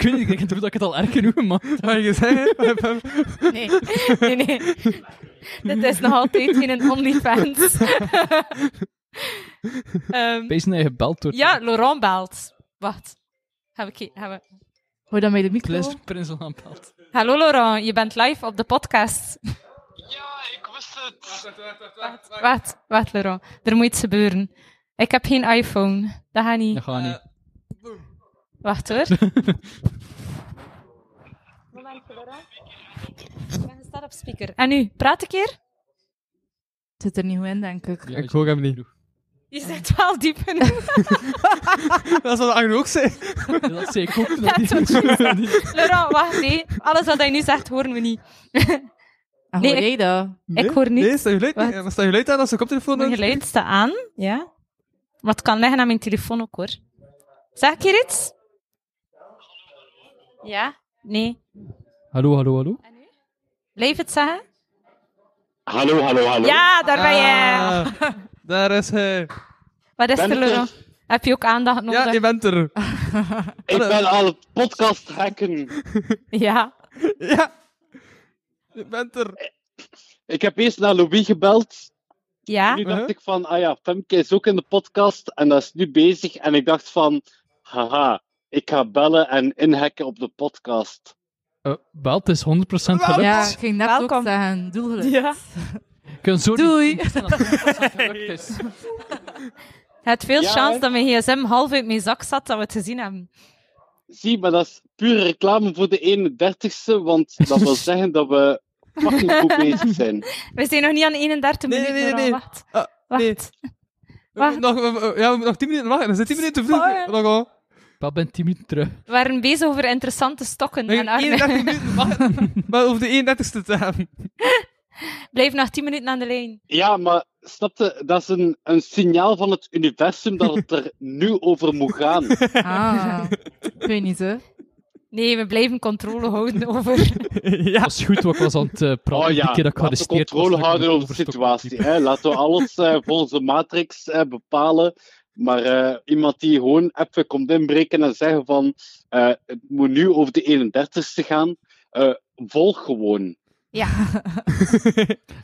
S5: weet niet, ik denk dat ik het al erg genoeg gemaakt heb.
S2: Wat je zeggen?
S3: Nee, nee, nee. Dit is nog altijd in een OnlyFans. Ehm,
S5: Wees dat je gebeld wordt.
S3: ja, Laurent belt. Wacht. Gaan we ki- gaan we...
S4: Hoor je dat bij de micro?
S5: Plezier, prins al aanbeld.
S3: Hallo Laurent, je bent live op de podcast. Ja, ik wist het. Wacht, wacht, wacht Laurent. Er moet iets gebeuren. Ik heb geen iPhone. Dat gaat niet.
S5: Dat gaat niet.
S3: Wacht hoor. Ik ben gestart op speaker. En nu, praat een keer.
S4: Het zit er niet goed in, denk ik.
S5: Ja,
S2: Ik hoor hem niet.
S3: Je zit wel diep in.
S2: Dat zou Agnew ook zijn.
S5: Dat zei ik ook. dat
S3: Ja,
S5: die-
S3: tot Laurent, wacht, nee. Alles wat hij nu zegt, horen we niet.
S4: En
S3: Nee, ik-
S4: hoor jij Ah, dat?
S3: Ik hoor niet.
S2: Nee, sta je geluid
S3: Wat?
S2: niet. Maar sta je geluid aan als de koptelefoon
S3: Mijn
S2: uit?
S3: geluid staat aan, ja. Maar het kan liggen aan mijn telefoon ook, hoor. Zeg ik hier iets? Ja? Nee.
S5: Hallo, hallo, hallo.
S3: Blijf het zeggen?
S9: Hallo, hallo, hallo.
S3: Ja, daar ben je.
S2: Ah, daar is hij.
S3: Wat is
S9: ben
S3: er,
S9: ik er.
S3: Laurent? Heb je ook aandacht
S2: Ja,
S3: nodig?
S2: je bent er.
S9: ik ben aan het podcast hacken.
S3: Ja.
S2: Ja. Je bent er.
S9: Ik heb eerst naar Louis gebeld.
S3: Ja.
S9: Nu
S2: Huh?
S9: dacht ik van, ah ja, Femke is ook in de podcast en dat is nu bezig. En ik dacht van, haha, ik ga bellen en inhacken op de podcast.
S5: Eh, wel, het is 100% gelukt.
S4: Ja, ik ging net
S3: Welkom.
S4: ook zeggen. Doelgeluk.
S3: Ja.
S5: Ik kan zo
S4: Doei.
S5: niet zeggen dat het 100% gelukt is.
S3: Je had veel
S9: Ja,
S3: chance
S9: hè?
S3: dat mijn gsm half uit mijn zak zat, dat we het gezien hebben.
S9: Zie, maar dat is pure reclame voor de 31ste, want dat wil zeggen dat we fucking goed bezig zijn.
S3: We zijn nog niet aan 31
S2: Nee,
S3: minuten,
S2: nee,
S3: Laurent.
S2: nee.
S3: Wacht.
S2: Ah,
S3: Wacht.
S2: nee. We
S3: Wacht.
S2: moeten nog, we- we- ja, we moeten nog 10 minuten wachten. Er zijn 10 minuten te vroeg.
S3: Fire.
S2: Nog al.
S5: Wel, ben 10 minuten terug.
S3: We waren bezig over interessante stokken.
S2: Nog
S3: En Arne,
S2: 31 minuten wachten. Maar over de 31ste te hebben.
S3: blijf nog 10 minuten aan de lijn.
S9: Ja, maar snapte, dat is een, een signaal van het universum dat het er nu over moet gaan.
S4: Ah. Ik weet niet, hè.
S3: Nee, we blijven controle houden over.
S5: Dat was goed, want ik was aan het eh, praten
S9: Oh
S5: die
S9: ja,
S5: keer dat
S9: laten
S5: ik
S9: we
S5: gearresteerd was,
S9: controle
S5: dat ik
S9: houden
S5: met
S9: over de
S5: overstok
S9: situatie.
S5: liep.
S9: Hè? Laten we alles eh, volgens de matrix eh, bepalen. Maar eh, iemand die gewoon even komt inbreken en zeggen van eh, het moet nu over de 31ste gaan, eh, volg gewoon.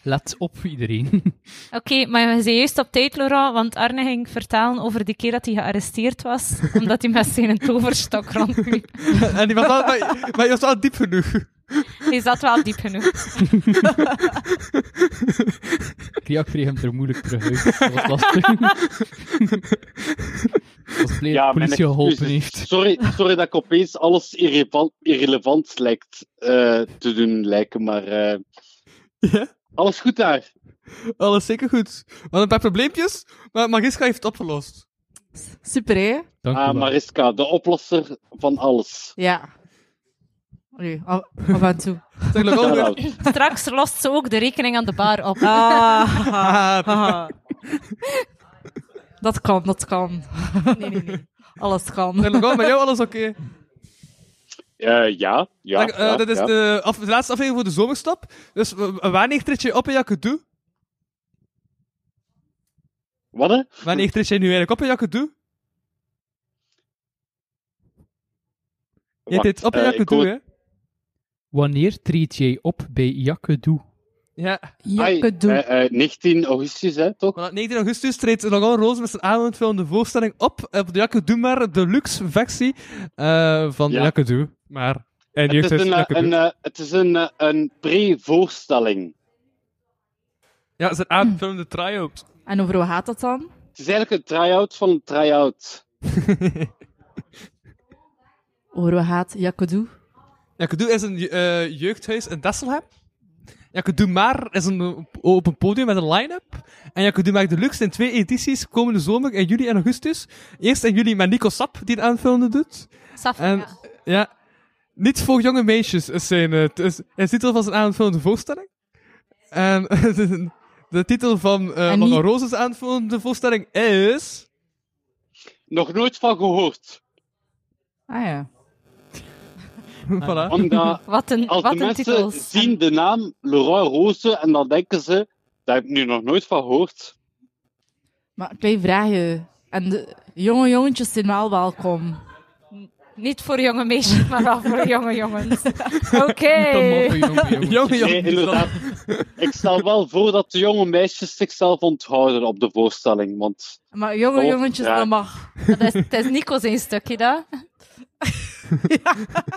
S5: Let op iedereen.
S3: Oké, maar we zijn juist op tijd, Laura, want Arne ging vertellen over die keer dat hij gearresteerd was, omdat hij met zijn toverstok rondliep.
S2: En die was wel, maar, maar je was wel diep genoeg.
S3: Hij zat wel diep genoeg.
S5: Kriak kreeg hem er moeilijk terug uit. Dat was lastig. Ik was blij dat de
S9: mijn
S5: politie geholpen
S9: excuses.
S5: heeft.
S9: Sorry, sorry dat ik opeens alles irrelevant, irrelevant lijkt eh, te doen lijken, maar eh,
S2: Ja?
S9: alles goed daar.
S2: Alles zeker goed. We hadden een paar probleempjes, maar Magiska heeft het opgelost.
S4: Super, hè?
S5: Dank u
S9: Ah,
S5: wel.
S9: Mariska, de oplosser van alles.
S4: Ja. Allee, af, af en toe.
S2: Zeg, Laurent,
S9: Shout-out.
S3: Straks lost ze ook de rekening aan de bar op.
S4: Ah.
S2: Ah,
S4: Dat kan, dat kan. Nee, nee, nee. Alles
S2: zeg,
S4: kan.
S2: Laurent, met jou alles oké?
S9: Eh, ja, ja.
S2: Dank- eh,
S9: ja,
S2: dit is
S9: ja.
S2: de, af- de laatste aflevering voor de zomerstop. Dus w- wanneer treed je op in Jakedoe?
S9: Wat? hè?
S2: Wanneer treed jij nu eigenlijk op in Jakedoe? Je deed
S9: eh,
S2: op je toe, hè?
S5: Wanneer treed jij op bij Jakkedoe?
S2: Ja.
S3: Jakkedoe.
S9: eh, 19 augustus, hè, toch?
S2: Maar op 19 augustus treedt Logan Rose met zijn aanvullende voorstelling op Eh, op de Jakke Doe maar deluxe versie eh, van
S9: Ja.
S2: Jakke Doe maar. En die
S9: het is een, eh,
S2: Jakke Doe.
S9: een, eh, het is een, eh, een pre-voorstelling.
S2: Ja, zijn aanvullende try-out.
S4: En over wat gaat dat dan?
S9: Het is eigenlijk een try-out van een try-out.
S4: Over wat gaat Jakodoe?
S2: Jakke Doe is een eh, jeugdhuis in Desselhem. Jakke Doe maar is een, op een podium met een line-up. En Jakke Doe maar deluxe in twee edities komende zomer in juli en augustus. Eerst in juli met Nico Sap, die het aanvullende doet.
S3: Safia.
S2: En, ja. Niet voor jonge meisjes is zijn, eh, t- is, is de titel van zijn aanvullende voorstelling. En de, de titel van eh
S4: En
S2: Lange
S4: niet-
S2: Roos' aanvullende voorstelling is...
S9: Nog nooit van gehoord.
S4: Ah ja. Ah,
S2: voilà.
S9: Omdat
S3: Wat een,
S9: als
S3: wat
S9: de
S3: een
S9: mensen
S3: titels.
S9: zien de naam Leroy Rose en dan denken ze, daar heb ik nu nog nooit van gehoord.
S4: Maar klein vraagje. En de jonge jongetjes zijn wel welkom.
S3: Niet voor jonge meisjes, maar wel voor jonge jongens. Oké.
S9: Eh.
S2: Jonge, jonge.
S9: Nee, inderdaad. ik stel wel voor dat de jonge meisjes zichzelf onthouden op de voorstelling. Want
S4: Maar jonge
S9: Oh,
S4: jongetjes,
S9: ja.
S4: dat mag.
S3: Dat is, het is Nico zijn stukje, dat.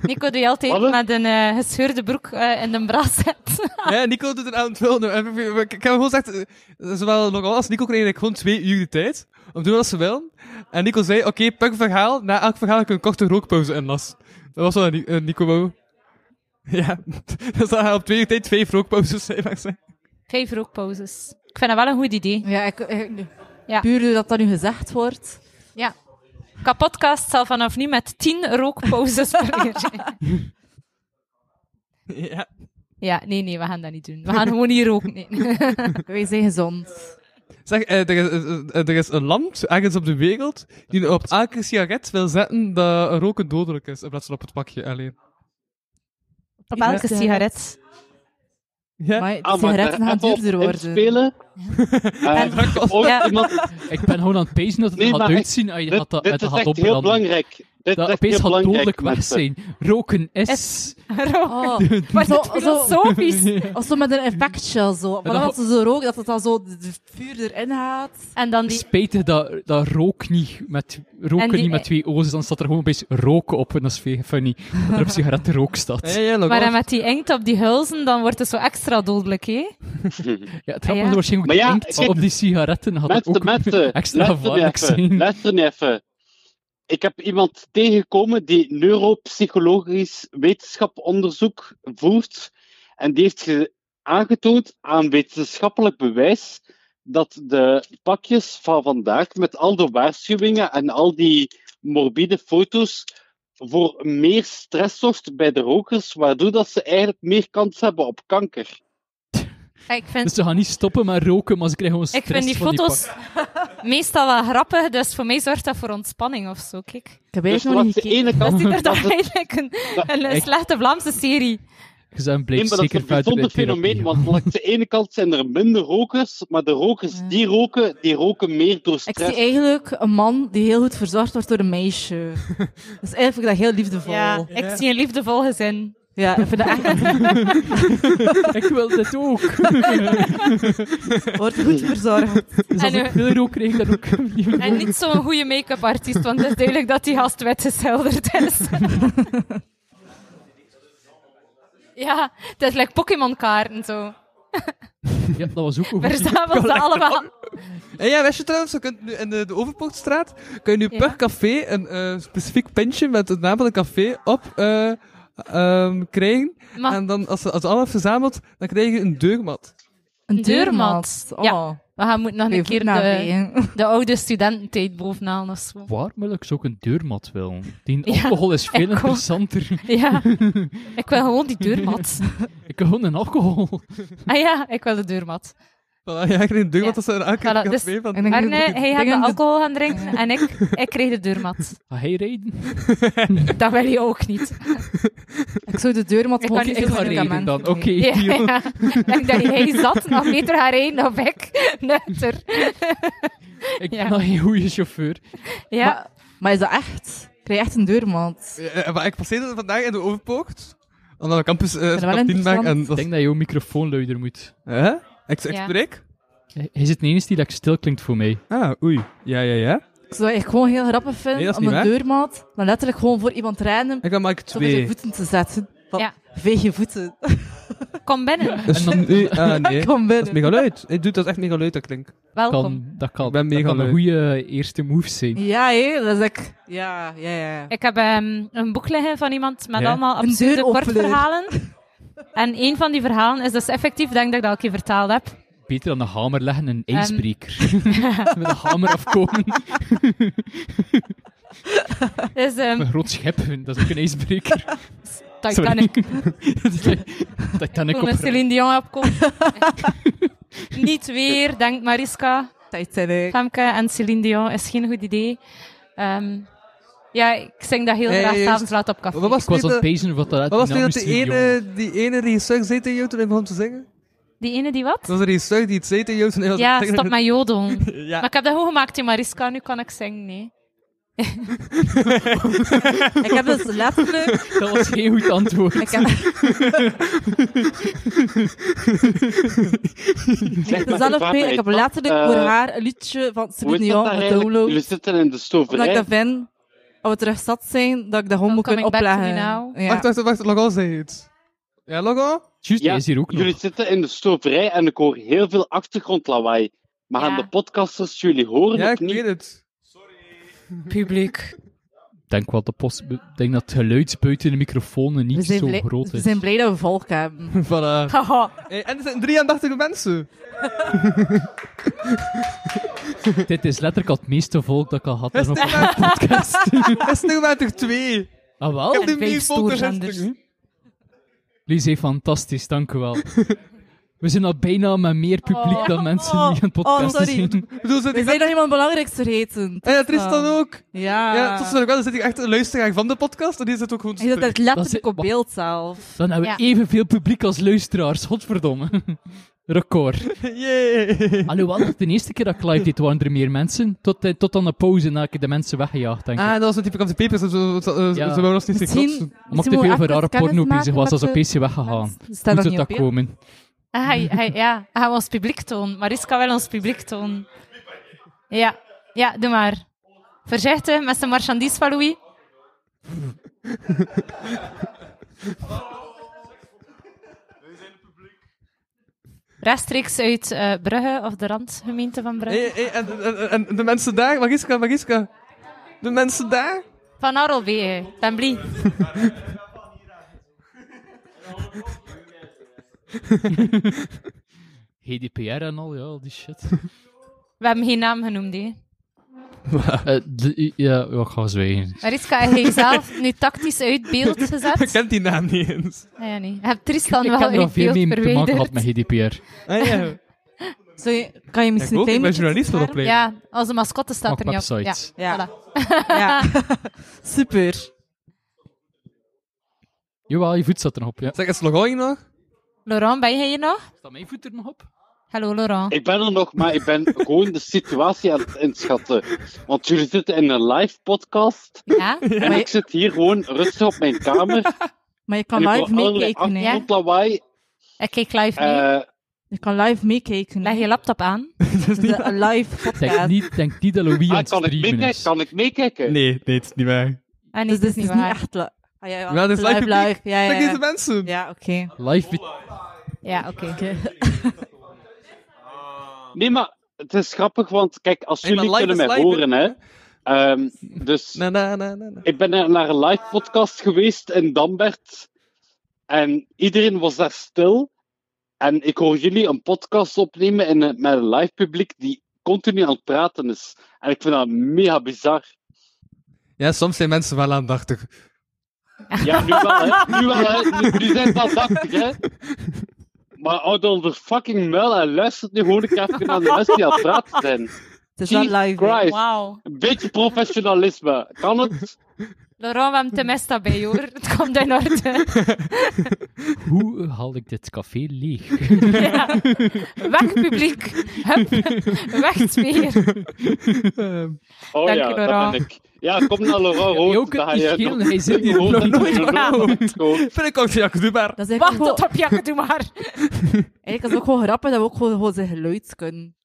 S3: Nico doet altijd
S9: Wat?
S3: met een eh, gescheurde broek eh, in de brazet.
S2: Ja, Nico doet een aanvullende. En we- we- Ik heb gewoon gezegd, eh, zowel Logan als Nico kregen eigenlijk gewoon twee uur de tijd. Om te doen wat ze willen. En Nico zei, oké, pak een verhaal. Na elk verhaal heb ik een korte rookpauze inlas. Dat was wel Ni- eh, Nico wou. Ja, dus dat hij op twee uur tijd twee rookpauzes zei, mag ik zeggen.
S3: Vijf rookpauzes. Ik vind dat wel een goed idee.
S4: Ja, ik, ik-
S3: Ja.
S4: Puur doordat dat nu gezegd wordt.
S3: Kapodcast zal vanaf nu met tien rookpauzes per uur.
S2: Ja.
S3: Ja, nee, nee, we gaan dat niet doen. We gaan gewoon niet roken. Nee.
S4: Wij zijn gezond.
S2: Zeg, eh, er is, eh, eh, er is een land ergens op de wereld die op elke sigaret wil zetten dat roken dodelijk is, in plaats van op het pakje alleen.
S3: Op elke
S4: Ja.
S3: sigaret.
S2: Ja,
S4: Maar de
S9: Ah, maar
S4: sigaretten
S9: daar
S4: gaan
S9: even op
S4: duurder worden.
S9: inspelen. Eh, ook
S3: Ja.
S9: iemand-
S5: Ik ben gewoon aan het pezen dat het
S9: Nee,
S5: er gaat
S9: maar
S5: uitzien als je
S9: dit
S5: gaat dat,
S9: dit
S5: het
S9: is
S5: gaat
S9: echt heel
S5: opbranden.
S9: belangrijk. Dit is
S5: Dat
S9: echt
S5: opeens
S9: heel
S5: gaat
S9: belangrijk.
S5: dodelijk weg
S9: mensen.
S5: zijn. Roken is...
S3: Is- Rook.
S4: Oh.
S3: Maar dat
S4: Zo- zo-
S3: filosofisch.
S4: Of zo met een effectshell zo. Maar
S5: dat-
S4: dat ze zo roken, dat het dan zo de- de vuur erin gaat.
S3: En dan die...
S5: Spijtig dat, dat rook niet met, roken
S3: En die-
S5: niet met twee o's, is, dan staat er gewoon opeens roken op. En dat is veel funny. Dat er op sigaretten rook staat.
S9: Eh,
S2: ja, ja,
S3: Maar dan
S2: Logan.
S3: met die inkt op die hulzen, dan wordt het zo extra dodelijk, hè?
S5: Ja, het gaat
S3: ah, Ja.
S5: er waarschijnlijk
S9: Maar ja,
S5: inkt
S9: kijk,
S5: op die sigaretten. Had dat
S9: Mensen,
S5: ook
S9: mensen,
S5: extra
S9: luister nu
S5: gevaarlijk
S9: even.
S5: zijn.
S9: Luister nu even. Ik heb iemand tegengekomen die neuropsychologisch wetenschaponderzoek voert. En die heeft ge- aangetoond aan wetenschappelijk bewijs dat de pakjes van vandaag met al de waarschuwingen en al die morbide foto's voor meer stress zorgt bij de rokers, waardoor dat ze eigenlijk meer kans hebben op kanker.
S3: Ja, Ik
S5: Dus
S3: vind,
S5: ze gaan niet stoppen met roken, maar ze krijgen gewoon
S3: ik
S5: stress
S3: vind die
S5: van
S3: foto's
S5: Die pak.
S3: meestal wel grappig, dus voor mij zorgt dat voor ontspanning of zo, kijk.
S4: Ik heb
S9: Dus
S4: eigenlijk nog
S9: langs
S4: niet
S9: de
S4: gekeken.
S9: ene
S3: Dat
S9: kant...
S3: ziet er
S9: dat
S3: toch
S9: het-
S3: eigenlijk een, een
S5: Ik-
S3: slechte Vlaamse serie.
S5: Je zou
S9: Nee,
S5: blijft
S9: maar dat is
S5: zeker
S9: een
S5: verder bij
S9: bijzonder
S5: therapie.
S9: fenomeen, want aan de ene kant zijn er minder rokers, maar de rokers
S4: Ja.
S9: die roken, die roken meer door
S4: Ik zie
S9: stress.
S4: eigenlijk een man die heel goed verzorgd wordt door een meisje. Dus eigenlijk vind ik dat heel liefdevol.
S3: Ja,
S4: Ja,
S3: ik zie een liefdevol gezin.
S4: ik vind dat echt...
S5: Ik wil dit ook.
S4: Wordt goed verzorgd.
S5: Dus als
S3: En,
S5: ik
S3: eh,
S5: veel rook krijg, dan ook niet
S3: En niet zo'n goede make-up artiest, want het is duidelijk dat die gast wit geschilderd is. Ja, het is like Pokémon-kaarten zo.
S5: Ja, dat was ook een goed
S3: Verzamel ze allemaal.
S2: En ja, wist je trouwens, je kunt nu in de, de Overpoortstraat kun je nu
S3: Ja.
S2: per café een eh, specifiek pintje met het naam van het café op eh, ehm, krijgen.
S3: Maar
S2: En dan, als ze als ze allemaal verzameld, dan krijg je een deurmat.
S4: Een
S3: deurmat.
S4: deurmat. Oh,
S3: Ja. we gaan moeten nog een keer de, de oude studententijd bovenaan of zo.
S5: Waar wil ik zo ook een deurmat willen? Die
S3: Ja,
S5: alcohol is veel
S3: ik ook.
S5: interessanter.
S3: Ja, ik wil gewoon die deurmat.
S5: Ik wil gewoon een alcohol.
S3: Ah ja, ik wil de deurmat.
S2: Voilà, ja, ik kreeg een
S3: Ja.
S2: deurmat als ze een
S3: Voilà,
S2: café
S3: dus-
S2: van...
S4: En dan-
S3: Arne,
S4: Ik
S3: hij gaat
S4: denk
S3: de
S4: dat-
S3: alcohol gaan drinken en ik, ik kreeg de deurmat.
S5: Ga jij rijden?
S3: Dat wil je ook niet.
S4: Ik zou de deurmat
S3: Ik
S4: ook
S3: kan niet
S4: niet
S5: Ik ga rijden dan. Oké,
S3: Ja,
S5: deal.
S3: ja. Ik denk dat hij zat nog beter gaat rijden of ik. Nutter.
S5: Ik
S3: Ja.
S5: ben nog geen goede chauffeur.
S3: Ja,
S4: Maar is dat echt? krijg je echt een deurmand.
S2: Eh, maar ik passeerde er vandaag in de overpoort. Omdat ik campus eh
S4: wel
S2: kantine ben. En
S4: interessant.
S2: dat
S5: Ik denk dat jouw microfoon luider moet.
S2: Hè? Ik, ik
S3: Ja.
S2: spreek?
S5: Hij hij zit de enige die dat stil klinkt voor mij.
S2: Ah, oei. Ja, ja, ja.
S4: Ik zou het echt gewoon heel grappig
S2: Nee,
S4: vinden
S2: dat is
S4: om
S2: niet
S4: een
S2: waar.
S4: deurmat dan letterlijk gewoon voor iemand random
S2: Ik heb Mike
S4: zo met je
S2: 2.
S4: voeten te zetten. Van,
S3: Ja.
S4: Veeg je voeten.
S3: Kom binnen.
S5: En
S2: Dus
S5: dan-
S2: nu, ah, nee.
S4: Kom
S2: Dat
S4: binnen.
S2: is mega luid. Ik doe dat is echt mega luid, dat klinkt.
S3: Welkom.
S5: Kan, dat kan,
S2: Ik ben
S5: dat
S2: mega
S5: kan een
S2: lui.
S5: goede eerste move zijn.
S4: Ja, hé, dat is ik. Ja, ja, ja. ja.
S3: Ik heb ehm, een boek liggen van iemand met
S5: Ja.
S3: allemaal
S4: Een
S3: absurde
S4: deuropener.
S3: kortverhalen. En een van die verhalen is dus effectief, denk dat ik dat al een keer vertaald heb.
S5: Beter dan een hamer leggen in een ijsbreker. Met een hamer afkomen.
S3: Dus ehm
S5: Een groot schip, dat is ook een ijsbreker. Sorry.
S3: Titanic.
S5: Titanic
S3: Toen
S5: op
S3: is Céline Dion opkomt. Niet weer, denkt Mariska.
S4: Titanic.
S3: Femke en Céline Dion is geen goed idee. Ehm, ja, ik zing dat heel
S2: Ja, ja,
S3: graag
S2: juist.
S3: s'avonds laat op café.
S2: Wat was
S5: Ik was aan
S2: niet
S5: het
S2: dat,
S5: pezen wat dat uit
S2: wat was niet dat die,
S5: naam is, jongen.
S2: ene, die ene regisseur zei tegen jou toen hij begon te zingen?
S3: Die ene die wat?
S2: Dat was een regisseur die het zei tegen jou toen hij was
S3: Ja,
S2: te zingen.
S3: stop met jodel.
S2: Ja.
S3: Maar ik heb dat goed gemaakt in Mariska, nu kan ik zingen, nee.
S4: Ik heb dus letterlijk...
S5: Dat was geen goed antwoord.
S4: Ik heb...
S9: Zeg maar,
S4: zelf
S9: waar
S4: mee. Ik
S9: wij
S4: heb
S9: dat,
S4: letterlijk
S9: eh,
S4: voor haar een liedje van
S9: Hoe
S4: Celine
S9: is dat
S4: Dion
S9: daar eigenlijk? Jullie
S4: gedownload.
S9: zitten in de
S4: Omdat ik
S9: stoverij.
S4: dat vind, als we terug zat zijn, dat ik dat gewoon moet kunnen
S3: Welcome back to
S4: opleggen.
S3: me
S4: Ja.
S2: Wacht, wacht, wacht, Logan zei het. Ja, Logan?
S5: Juist,
S9: Ja,
S5: hij is hier ook nog.
S9: Jullie zitten in de stoverij en ik hoor heel veel achtergrondlawaai. Maar
S3: Ja.
S9: aan de podcasters, jullie horen
S2: Ja, ik
S9: het niet.
S2: weet het.
S4: Publiek.
S5: Ik denk, wel de post... ik denk dat het geluid buiten de microfoon
S4: We
S5: niet
S4: zijn,
S5: zo
S4: blij,
S5: groot
S4: we
S5: is.
S4: zijn blij dat we volk hebben.
S2: Voilà.
S3: now.
S2: Hey, en er zijn 83 mensen.
S5: Dit is letterlijk al het meeste volk dat ik al had Ah,
S2: Is
S5: in
S2: het
S5: een
S2: maar-
S5: podcast.
S2: is het maar toch twee?
S5: ah,
S2: Ik
S5: wel?
S2: heb de
S3: Oh, vijf
S2: meer volgers dan
S3: stoorzenders.
S2: Stijn.
S5: Jullie zijn fantastisch, dank u wel. We zijn al bijna met meer publiek
S4: Oh.
S5: dan mensen die aan het podcasten
S4: sorry.
S5: zijn.
S2: Ik bedoel, zit
S4: We
S2: ik
S4: zijn
S2: echt...
S4: nog iemand belangrijks vergeten.
S2: En dat is dan ook.
S4: Ja.
S2: Ja, tot zover wel. Dan zit ik echt een luisteraar van de podcast. En die zit ook gewoon te
S4: Hij zit
S2: spreken.
S4: echt letterlijk
S5: Dat
S4: op
S5: is-
S4: beeld zelf.
S5: Dan hebben we evenveel publiek als luisteraars, godverdomme. Record.
S2: Jee.
S5: Alhoewel, de eerste keer dat ik live deed, waren er meer mensen. Tot, eh, tot aan de pauze, na ik de mensen weggejaagd, denk ik.
S2: Ah, dat was een type van papers. Ze ze- ze-
S5: Ja.
S2: ze wouden ons niet zien
S4: Misschien,
S2: klotsen.
S5: Omdat ik
S4: moeten
S5: te
S4: we
S5: veel
S4: even
S5: voor rare
S4: kennis
S5: porno
S4: maken
S5: bezig was,
S4: met
S5: als
S4: de
S5: opeens weggegaan.
S4: mensen. Staan
S5: Hoe
S4: nog
S5: zou
S4: niet op
S5: dat
S4: beeld.
S5: komen?
S3: Ah, hij, hij, ja, hij wil ons publiek tonen. Mariska wil ons publiek tonen. Ja, ja doe maar. Voorzichtig met zijn marchandise van Louis. Rechtstreeks uit eh, Brugge of de randgemeente van Brugge.
S2: Hey, hey, en, en, en- en de mensen daar, Magiska, Magiska. De mensen daar?
S3: Van Arlbeek, ben blij.
S5: GDPR en al, ja, al die shit.
S3: We hebben geen naam genoemd. Hè.
S5: Eh, de- ja, ja, ik ga zwijgen.
S3: Mariska, heb je zelf nu tactisch uit beeld
S2: Ik
S3: gezet?
S2: ken die naam niet eens.
S3: Ah ja, nee. Je hebt Tristan
S5: Ik
S3: wel
S5: heb er al
S3: uit
S5: veel
S3: beeld
S5: mee te maken gehad
S3: verwijderd.
S5: met GDPR.
S2: Ah, ja.
S4: Zou je- kan je
S2: Ik
S4: misschien
S2: ook, ik
S4: een klein
S2: ben
S4: beetje
S2: journalist wil
S4: verklaren?
S2: opleiden.
S3: Ja, onze mascotte staat
S5: Maak
S3: er niet op.
S5: websites.
S3: Ja.
S4: Ja.
S3: Voilà.
S4: ja. Super.
S5: Jawel, je voet zat er nog op, ja.
S2: Zeg, is Logan nog?
S3: Laurent, ben jij hier nog?
S5: Staat mijn voet er nog op?
S3: Hallo Laurent.
S9: Ik ben er nog, maar ik ben gewoon de situatie aan het inschatten. Want jullie zitten in een live podcast.
S3: Ja?
S9: En
S4: Maar-
S9: ik zit hier gewoon rustig op mijn kamer.
S4: Maar je
S9: en
S4: kan
S9: ik
S4: live
S9: hoor allerlei
S4: meekijken, hè.
S9: achtergrondlawaai.
S3: Ik kijk live mee.
S9: Eh,
S4: Je kan live meekijken.
S3: Leg je laptop aan.
S4: Het is een live podcast.
S5: Denk niet, denk niet dat Louis aan
S9: ah,
S5: het
S9: kan ik
S5: streamen
S9: meekijken?
S5: is.
S9: Kan ik meekijken?
S2: Nee, nee, het is niet waar.
S3: Ah, nee,
S4: Dus
S3: dat
S4: dit
S3: is niet
S4: is niet
S3: waar.
S4: echt li- Ah, ja,
S2: Ja, dit is live
S4: live.
S2: publiek.
S4: Ja, ja,
S2: Kijk deze
S4: ja.
S2: mensen.
S4: Ja, oké.
S5: Live met-
S3: Ja, oké.
S9: Nee, maar het is grappig, want kijk, als
S2: Hey, maar
S9: jullie
S2: live
S9: kunnen
S2: is
S9: mij
S2: live,
S9: horen, hè. Ehm, dus
S2: Na, na, na, na, na.
S9: ik ben naar naar een live podcast geweest in Dambert. En iedereen was daar stil. En ik hoor jullie een podcast opnemen in, een- met een live publiek die continu aan het praten is. En ik vind dat mega bizar.
S2: Ja, soms zijn mensen wel aandachtig.
S9: Ja, nu wel, hè. Nu, wel, hè. nu, nu zijn ze aandachtig, hè. Maar houd dan de fucking muil en luister nu gewoon een keer even naar de mensen die aan het praten zijn.
S4: Het is wel
S9: Jesus
S4: live. hè.
S9: Christ.
S3: Wauw.
S9: Een beetje professionalisme. Kan het?
S3: Laurent, we hebben Temesta bij, hoor. Het komt in orde.
S5: Hoe haal ik dit café leeg?
S3: Ja. Weg, publiek. Hup. Weg, sfeer.
S5: Ehm,
S7: Oh
S3: Dank
S7: ja,
S3: je,
S7: dat
S3: Laurent.
S7: ben ik. Ja, kom naar Laurent
S5: je
S7: Rood.
S5: ook het
S7: Dan ga
S5: niet
S7: je
S5: schelen, hij zit
S7: Ik
S5: hier
S7: hoor
S5: nog
S7: het
S5: nooit
S7: niet,
S5: vanavond.
S7: Gewoon-
S2: Vind ik ook ja, doe maar.
S4: Dat is eigenlijk
S3: Wacht
S4: ook
S3: tot
S4: gewoon,
S3: op je, doe maar.
S4: eigenlijk is het ook gewoon grappig dat we ook gewoon, gewoon zijn geluid kunnen.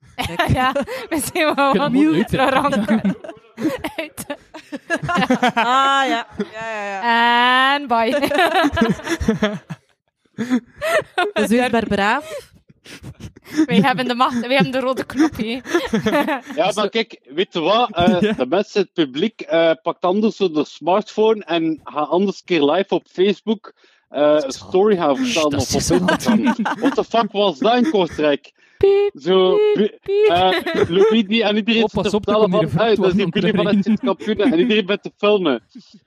S4: Like,
S3: Ja, we zijn wel
S5: Kunnen we
S3: wat
S5: uit, hè?
S3: Laurent uit.
S4: Ah ja. ja, ja, ja.
S3: En bye.
S4: Dus weer braaf.
S3: Wij hebben de macht, wij hebben de rode knop, hè.
S7: Ja, maar kijk, weet je wat? Eh, De mensen, het publiek, eh, pakt anders zo de smartphone en ga anders een keer live op Facebook eh, een story gaan vertellen
S5: dat
S7: of op
S5: is
S7: Instagram. What the fuck was dat in Kortrijk? Zo, bu- eh, Louis die aan iedereen
S5: Oh,
S7: zit
S5: pas
S7: te
S5: op, er
S7: vertellen
S5: komt hier
S7: van,
S5: een
S7: hey, dat is die
S5: vrachtwagen
S7: Billy van het
S5: omkrijgen.
S7: Zit kampioen en iedereen bent te filmen.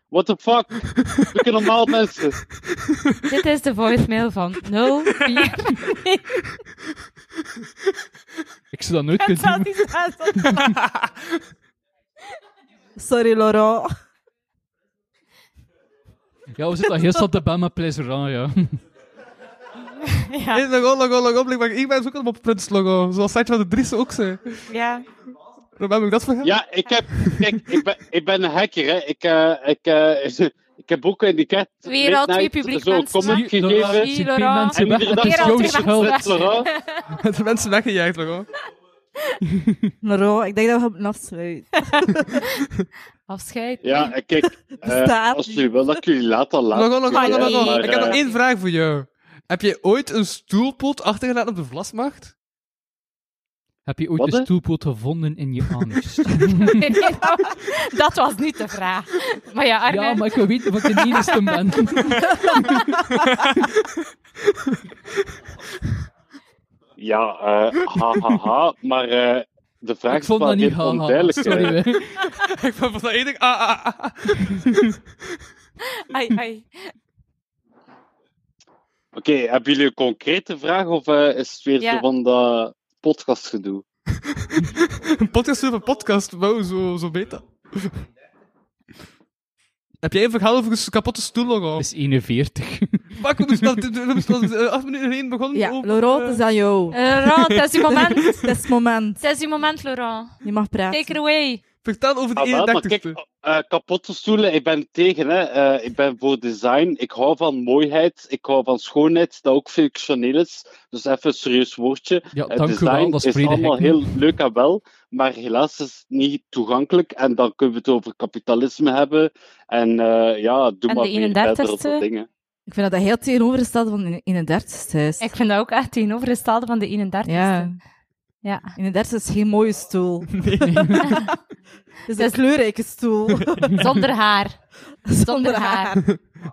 S7: What the fuck? Doe je normaal mensen.
S3: Dit is de voicemail van 04.
S5: Ik zou dat nooit kunnen doen.
S4: Sorry, Laurent.
S5: Ja, we zitten al heel snel te bellen met Pleasuran, ja.
S3: Ja,
S2: Nee, Log op, log op, log op. Ik ben- Ik ben ook al op het Prins-logo. Zoals Setje van de Driessen ook zei.
S3: ja.
S2: Dan heb ik dat vergeten.
S7: Ja, ik heb. Kijk, ik ben, ik ben een hacker, hè. Ik, eh, ik, eh, ik heb ook
S9: eh,
S7: in die cat.
S3: Weer al twee
S7: midnight
S3: publiek
S7: zo'n
S3: mensen,
S7: comment
S5: Zie je, Laurent,
S7: gegeven.
S5: ik zie
S3: Laurent.
S5: twee mensen
S7: En
S5: weg.
S7: iedere
S5: Het
S7: dag
S5: is
S3: Weer al
S5: jouw
S3: twee
S5: schuld.
S7: Met Laurent.
S2: De mensen weggejaagd, logo.
S4: Laurent, ik denk dat we hem afsluiten.
S3: Afscheid.
S7: Ja, en kijk, eh,
S4: Bestaat
S7: als jullie wel dat ik jullie laat, dan laat.
S2: Logo, logo,
S7: ik
S2: logo,
S7: jullie,
S2: logo.
S7: hè. Maar,
S2: Ik heb nog
S7: eh,
S2: één vraag voor jou. Heb je ooit een stoelpoot achtergelaten op de vlasmacht?
S5: Heb je ooit
S7: Wat, hè?
S5: een stoelpoot gevonden in je anus?
S3: Nee, nou, dat was niet de vraag. Maar ja, Arne,
S5: ja, maar ik wil weten wat de nieuwste ben.
S7: Ja, eh, ha, ha, ha. Maar eh, de vraag
S5: ik vond
S7: is
S5: dat
S7: wel
S5: niet
S7: heel
S5: haha.
S7: onduidelijk.
S5: Sorry,
S7: eh.
S5: hè.
S2: Ik vond van dat één ding. Ah, ah, ah, ah.
S3: ai, ai.
S7: Oké, hebben jullie een concrete vraag of eh, is het weer
S3: Ja.
S7: zo van dat podcastgedoe?
S2: Een podcast over podcast. Wauw, zo, zo beter. Heb jij een verhaal over een kapotte stoel, logo?
S5: Het is 41.
S2: Fuck, we moesten wel- we moesten wel acht minuten heen begonnen.
S4: Ja,
S2: over,
S4: Laurent,
S2: eh,
S4: het is aan jou.
S3: Eh, Laurent, dat is uw moment.
S4: Het is het moment.
S3: Dat is uw moment, Laurent.
S4: Je mag praten.
S3: Take it away.
S2: Vertel over de
S7: Ah, wel, maar kijk,
S2: 31ste.
S7: eh, kapotte stoelen, ik ben tegen. Hè. Eh, ik ben voor design. Ik hou van mooiheid. Ik hou van schoonheid, dat ook functioneel is. Dus even een serieus woordje.
S5: Ja,
S7: Het
S5: dank u
S7: design
S5: wel. Dat is
S7: is
S5: vrede
S7: allemaal
S5: Hekken.
S7: heel leuk en wel, maar helaas is het niet toegankelijk. En dan kunnen we het over kapitalisme hebben. En eh, ja, doe
S3: En
S7: maar
S3: de
S7: weer verder dat
S3: 31ste?
S7: soort dingen.
S4: Ik vind dat dat heel tegenovergesteld van in- in een dertigste huis.
S3: Ik vind dat ook echt tegenovergestelde van de 31ste.
S4: Ja.
S3: Ja.
S4: In een dertigste is geen mooie stoel. Het is een
S3: Dus-
S4: kleurrijke stoel.
S3: Zonder haar. Zonder haar.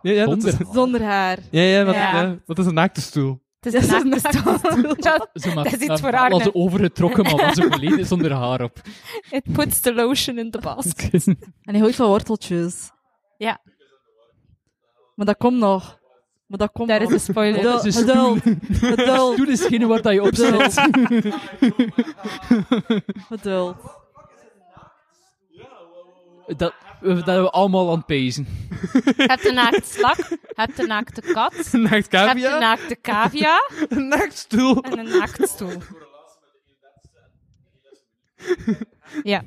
S2: Ja, ja, dat is,
S5: Donder.
S4: Zonder haar.
S2: ja, ja, dat,
S3: Ja.
S2: ja, dat is een naakte stoel.
S3: Het is een naakte stoel. Dat-
S5: Ze maar,
S3: Dat is iets
S5: eh,
S3: voor Arne.
S5: was ze overgetrokken, maar was ze volledig zonder haar op. Dus-
S3: It puts the lotion in the basket.
S4: En hij houdt van worteltjes.
S3: Ja.
S4: Maar dat komt nog. Maar dat komt
S3: Daar is
S4: nog.
S3: de spoiler.
S5: Dat is een stoel.
S4: Geduld. Geduld.
S5: Toen is geen waar dat je op
S4: Geduld.
S5: zit.
S4: Geduld.
S5: Dat, dat we allemaal aan het pezen.
S3: Je hebt een naakt slak, je hebt een naakte kat, je
S2: Een naakt
S3: hebt een
S2: cavia,
S3: naakte cavia
S2: een naakt stoel.
S3: en een naakt stoel. Ja,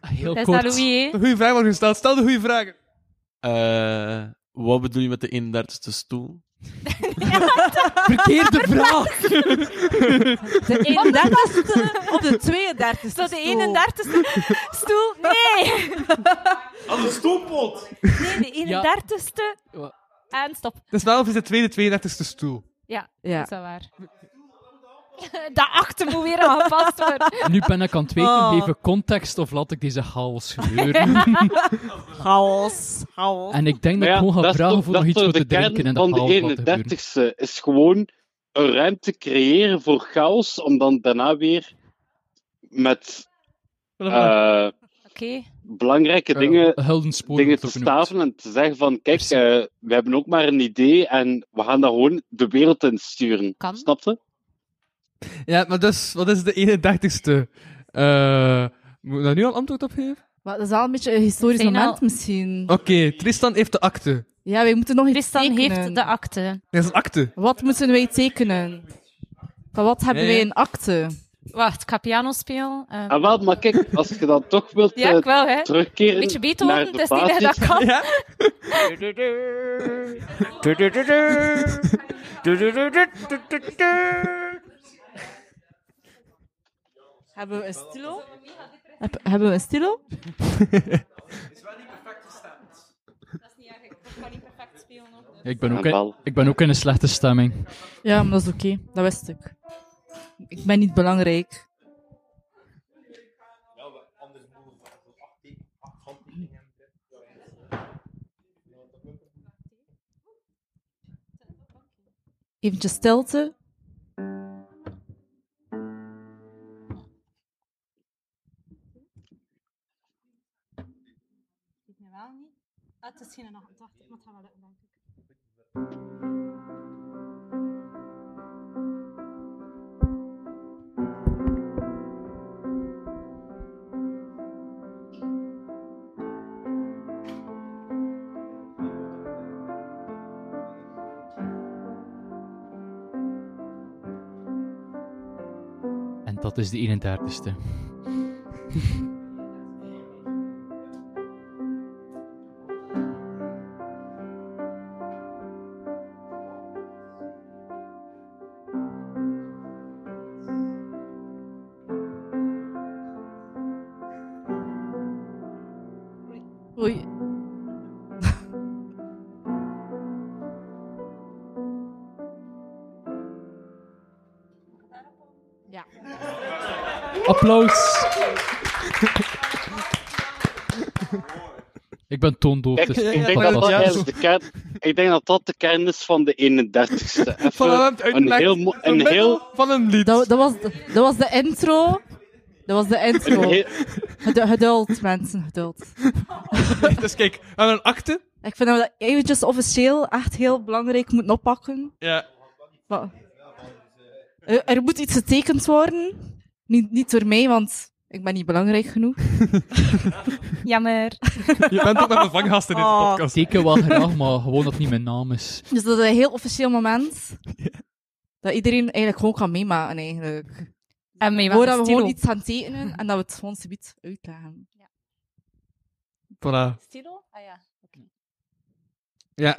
S5: Heel
S3: dat is dat
S5: kort.
S3: Louis. hè?
S2: Een goede vraag wordt gesteld. Stel de goede vragen.
S10: Eh, wat bedoel je met de 31ste stoel?
S5: Verkeerde vraag!
S4: De 31ste op de 32ste
S3: Is dat de
S4: stoel.
S3: 31ste stoel? Nee!
S10: Als een stoelpot!
S3: Nee, de
S5: Ja.
S3: 31ste.
S5: Wa-
S3: En stop.
S2: Dat is wel of Dus is het tweede 32ste stoel.
S3: Is
S4: Ja.
S3: dat waar? Dat achter moet weer aangepast worden.
S5: Nu ben ik aan het weten,
S3: Ah.
S4: Oh.
S5: even context of laat ik deze chaos gebeuren.
S4: Chaos. Chaos.
S5: En ik denk dat ik
S7: Maar ja,
S5: gewoon ga
S7: dat is
S5: vragen
S7: toch-
S5: voor nog
S7: dat is
S5: iets
S7: toch
S5: wat te
S7: de kern
S5: drinken en dat
S7: van
S5: haal wat te
S7: de
S5: gebeuren.
S7: 31ste is gewoon een ruimte creëren voor chaos, om dan daarna weer met eh,
S3: Oké.
S7: belangrijke dingen,
S5: Eh, Heldenspoor
S7: dingen
S5: wordt
S7: te
S5: ook genoemd.
S7: staven en te zeggen van, kijk,
S5: Precies.
S7: eh, we hebben ook maar een idee en we gaan daar gewoon de wereld in sturen.
S3: Kan.
S7: Snap je?
S2: Ja, maar dus, wat is de 31ste? Eh, moet ik daar nu al antwoord op geven?
S4: Maar dat is wel een beetje een historisch
S3: Zijn
S4: moment
S3: al-
S4: misschien.
S2: Oké, Tristan heeft de akte.
S4: Ja, wij moeten nog iets
S3: Tristan
S4: tekenen.
S3: heeft de akte.
S2: Dat is een akte.
S9: Eh,
S4: Wat moeten wij tekenen? Van wat hebben
S2: Ja, ja.
S4: wij een akte?
S3: Wacht, ik ga piano spelen. Ehm,
S9: En Ah, wel, maar kijk, als je dan toch wilt
S3: ja,
S9: eh,
S3: ik wel, hè.
S9: terugkeren
S3: Beetje
S9: naar
S3: Beethoven,
S9: de
S3: het is niet dat dat
S9: basis,
S3: kan.
S2: Ja?
S4: Hebben we een stilo? Heb- hebben we een stilo?
S5: Ik ben, ook
S9: En
S5: in,
S9: wel.
S5: ik ben ook in een slechte stemming.
S4: Ja, maar dat is oké. Dat wist ik. Ik ben niet belangrijk. Eventjes stilte.
S3: Ah,
S5: En dat is de 31ste.
S4: Oei.
S5: Applaus! ik ben toondoof,
S9: Kijk,
S5: dus
S9: ik
S5: ik
S9: denk
S5: pak
S9: dat
S5: dat
S9: dat
S2: ja,
S5: af.
S9: eigenlijk de kern, ik denk dat dat de kern is van de 31ste.
S2: Van
S9: Even een heel, mo- een heel,
S2: van een lied.
S4: Dat, dat, was, dat was de intro. Dat was de
S9: een
S4: intro.
S9: heel,
S4: Gedu- Geduld, mensen, geduld.
S2: Dus kijk, we hebben een akte.
S4: Ik vind dat we dat eventjes officieel echt heel belangrijk moeten oppakken.
S2: Ja.
S4: Wa- Er, Eh, er moet iets getekend worden. Niet, niet door mij, want ik ben niet belangrijk genoeg.
S3: Jammer.
S2: Je bent ook met een vanghast in deze
S4: Oh.
S2: podcast.
S5: Teken wel graag, maar gewoon dat het niet mijn naam is.
S4: Dus dat is een heel officieel moment. Dat iedereen eigenlijk gewoon kan meemaken, eigenlijk.
S3: En mee met
S4: Voordat
S3: de
S4: we
S3: Eh, stilo.
S4: gewoon iets gaan tekenen en dat we het gewoon subiet uitleggen.
S2: Voilà.
S3: Stilo? Ah ja.
S2: Ja.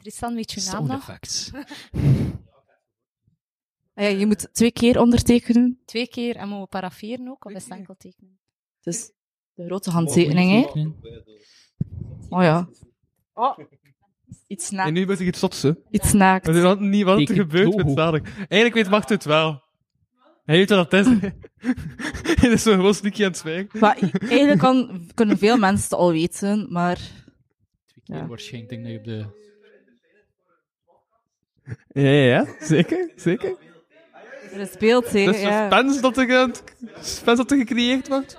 S3: Tristan, weet je je naam
S5: Sound
S3: nog?
S5: effects.
S4: Ah Ja,
S3: Eh.
S4: je moet twee keer ondertekenen.
S3: Twee keer en mogen we parafferen ook, of is het enkel tekenen?
S4: Dus de grote handtekening, hè. Oh ja. Oh. Iets
S2: En
S4: naakt.
S2: nu ben ik iets zots, hè.
S4: Iets naakt.
S2: We hadden niet wat er
S5: Teken
S2: gebeurt met
S5: Toho.
S2: dadelijk. Eigenlijk weet Macht het wel. Hij weet wat dat is. hè. Hij is zo gewoon sneaky aan het zwijgen.
S4: Maar i- eigenlijk kan, kunnen veel mensen het al weten, maar
S5: Twee keer
S4: Ja.
S5: waarschijnlijk denk ik dat je op de...
S2: Ja, ja, ja. Zeker, zeker.
S4: er is beeld, hè.
S2: Dus
S4: ja.
S2: suspense dat er, aan het- suspense dat er gecreëerd wordt.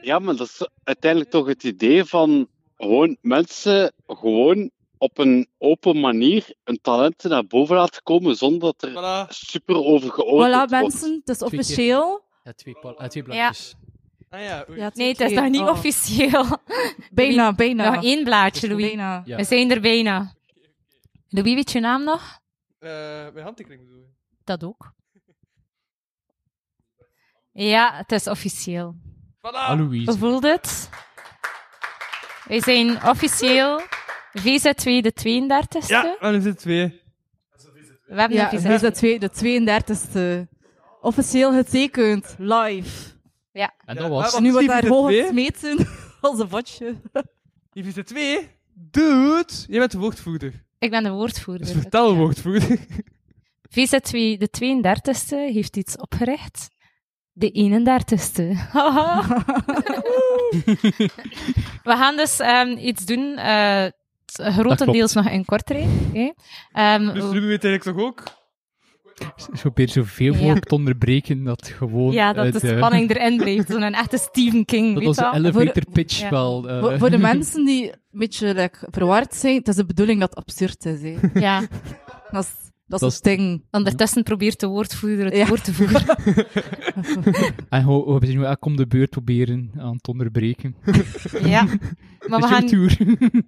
S9: ja, maar dat is uiteindelijk toch het idee van gewoon mensen gewoon op een open manier hun talenten naar boven laten komen zonder dat er
S2: Voilà.
S9: super over geoordeeld
S4: Voilà,
S9: wordt.
S4: mensen, het is
S5: keer.
S4: officieel.
S5: Ja, twee, pal- ah, twee blaadjes.
S2: Ah ja, oei.
S4: Ja, twee
S3: Nee, het is
S4: keer.
S3: nog niet
S4: Oh.
S3: officieel.
S4: Bijna, bijna.
S3: Nog Nou, één blaadje, Louis.
S4: Bijna.
S5: Ja.
S3: We zijn er bijna. Louis, weet je je naam nog?
S2: Eh, mijn handtekening bedoel je?
S3: Dat ook. Ja, het is officieel.
S2: Voilà.
S3: Hoe
S5: Aloïse.
S3: voelt het? We zijn officieel VZ2 de 32e.
S2: Ja, en dan Ah, zit twee.
S3: We hebben
S4: Ja,
S3: ja,
S4: hij is
S3: VZ2.
S4: de, twee, de 32e. Officieel getekend, live.
S5: En
S2: Ja,
S5: dat was...
S2: maar-
S4: nu wordt
S2: Steve
S4: daar
S2: is
S4: gewoon
S2: het
S4: gesmeten als een vatje.
S2: Je vindt er twee. Dude, jij bent de woordvoerder.
S3: Ik ben de woordvoerder.
S2: Dus vertel woordvoerder.
S3: VZ2 de 32e heeft iets opgericht. De 31ste. Haha. We gaan dus ehm, iets doen, eh, t- grotendeels nog in Kortrijk. oké? Ehm,
S2: Dus Ruby weet eigenlijk toch ook?
S5: Ik probeer zoveel
S3: Ja.
S5: mogelijk te onderbreken dat gewoon...
S3: ja, dat
S5: eh,
S3: de spanning erin blijft. Zo'n echte Stephen King.
S5: Dat
S3: weet
S5: was
S3: je
S5: een
S3: wel.
S5: elevator pitch
S3: ja.
S5: wel. eh.
S4: Voor, voor de mensen die een beetje like, verward zijn, het is de bedoeling dat het absurd is. Hè.
S3: Ja.
S4: Dat is, dat is
S5: Dat
S4: het ding.
S3: Ondertussen probeert de woordvoerder het
S4: Ja.
S3: woord te voeren.
S5: En hoe hoe we zien hoe elk om de beurt proberen aan te onderbreken.
S3: ja. Maar we
S5: Is je
S3: gaan,
S5: tour.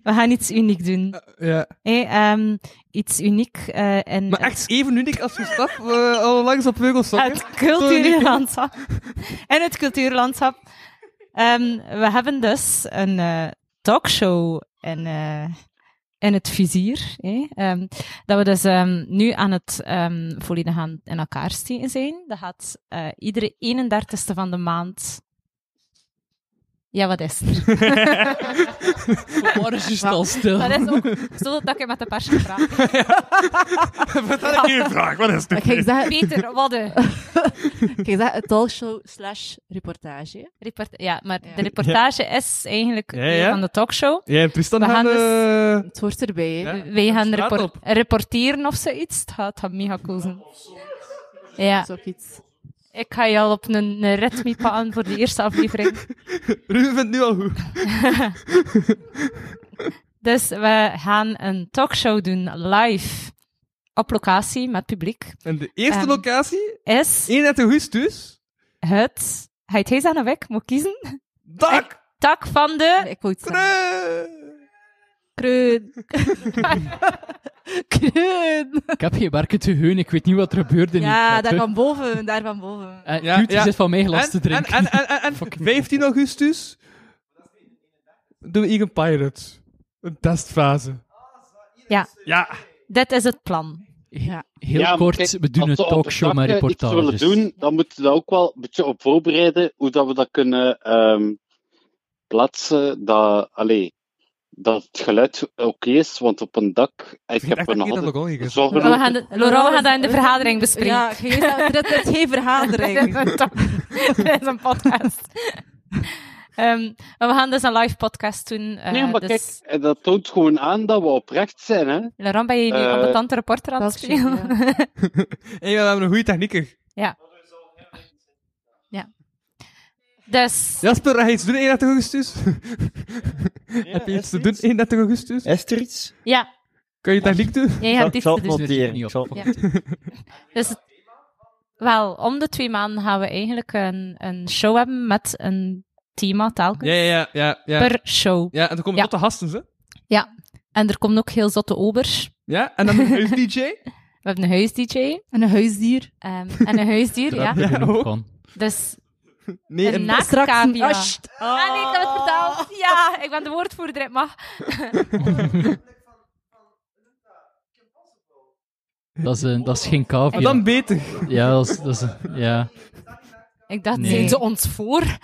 S3: we gaan iets uniek doen.
S2: Ja.
S3: Hé, ehm, iets uniek eh, en
S2: Maar echt even uniek als je stap eh, onlangs op Veugelstokken.
S3: het culturele landschap. en het cultuurlandschap. Ehm, we hebben dus een eh, talkshow in, eh, in het vizier. hè. Ehm, dat we dus ehm, nu aan het ehm, volledig aan in elkaar steken zijn. Dat gaat eh, iedere 31ste van de maand. Ja, wat is er?
S5: Maar is juist al stil.
S3: Dat is ook zodat ik met de pers gepraat heb.
S2: Vertel je vraag, wat is
S4: Ik ging zeggen,
S3: Peter, wat de
S4: ik ging zeggen, een talkshow slash reportage.
S3: report- Ja, maar
S4: Ja.
S3: de reportage is eigenlijk
S2: Ja,
S3: deel
S2: ja.
S3: van de talkshow.
S2: Jij en Tristan
S3: We gaan
S2: gaan...
S3: dus-
S2: eh,
S4: Het hoort erbij. hè.
S2: ja,
S3: Wij gaan
S2: straat
S3: repor-
S2: op.
S3: reporteren of zoiets. Het gaat, het gaat mega cool zijn. Ja,
S4: Dat is ook iets.
S3: ik ga je al op een, een ritme pakken voor de eerste aflevering.
S2: Ruben vindt het nu al goed.
S3: Dus we gaan een talkshow doen live op locatie met publiek.
S2: En de eerste
S3: Ehm.
S2: locatie,
S3: Is
S2: 31 augustus, dus,
S3: het. Ga je het eens aan de weg? Moet ik kiezen?
S2: dak!
S3: Tak van
S4: Nee,
S3: de.
S4: Ik wou iets zeggen.
S3: eh,
S2: Kreu!
S4: Kreun. Kreun.
S5: Ik heb geen werken te heun, ik weet niet wat er gebeurde.
S4: Ja,
S5: niet.
S4: daar van boven, daar van boven.
S5: En
S2: Ja,
S5: Dude, die
S2: ja.
S5: zit van mij glas te
S2: En, en,
S5: drinken.
S2: en, en, en, en
S5: Fucking-
S2: 15 augustus doen we Egan Pirate. Een testfase.
S3: Ja,
S2: Ja.
S3: dit is het plan.
S5: Ja, Heel
S9: Ja, maar
S5: kort,
S9: kijk,
S5: we doen
S9: als
S5: een
S9: we op het
S5: talkshow
S9: dak,
S5: met
S9: eh, iets
S5: reportages.
S9: willen doen, dan moeten we daar ook wel een beetje op voorbereiden hoe dat we dat kunnen ehm, plaatsen. Dat, allee, dat het geluid oké is, want op een dak. Ik
S2: Ik
S9: heb
S2: echt
S9: er
S2: dat
S9: nog
S2: ik dat
S9: altijd
S2: nog al niet gezien.
S9: zorgen
S3: We
S9: over.
S3: gaan de, Laurent, we gaan dat in de vergadering bespreken.
S4: Ja, geen, dit is geen vergadering.
S3: Dit is een talk- Dit is een podcast. Ehm, maar we gaan dus een live podcast doen. eh,
S9: Nee, maar
S3: dus...
S9: kijk, eh, dat toont gewoon aan dat we oprecht zijn. Hè?
S3: Laurent, ben je nu
S9: Eh,
S3: ambetante reporter aan het
S4: dat is
S3: spelen?
S4: chill,
S2: En we hebben een goede technieker.
S3: Dus,
S2: Jasper, ga je iets doen 31 augustus? Heb je iets te doen 31 augustus?
S8: Is er iets?
S3: ja,
S2: Kan je techniek doen?
S3: jij
S8: Ja,
S3: hebt
S8: ik
S3: iets
S8: zal
S3: te
S8: het
S3: doen.
S8: noteren.
S5: niet
S8: Ik zal-
S5: op.
S3: Ja. Dus, het- wel, om de twee maanden gaan we eigenlijk een, een show hebben met een thema telkens.
S2: Ja, ja, ja. Ja, ja.
S3: Per show.
S2: ja en dan komen
S3: Ja.
S2: tot de gasten, hè?
S3: En er komen ook heel zotte obers.
S2: Ja, en dan een huis DJ.
S3: We hebben een huis-dj
S4: En een huisdier.
S3: ehm, en een huisdier,
S5: Daar
S3: ja.
S5: hebben we
S2: Ja,
S5: genoeg
S2: ook.
S5: van.
S3: Dus
S2: Nee,
S3: een
S2: een
S4: Straks een
S3: naaktcavia.
S4: asht.
S3: Ah, nee, ik heb het vertaald. Ja, ik ben de woordvoerder, het mag.
S5: Dat is, een, dat is geen cavia.
S2: maar dan beter.
S5: Ja, dat is, dat is een- ja.
S3: Ik dacht,
S5: Nee.
S3: zijn ze ons voor?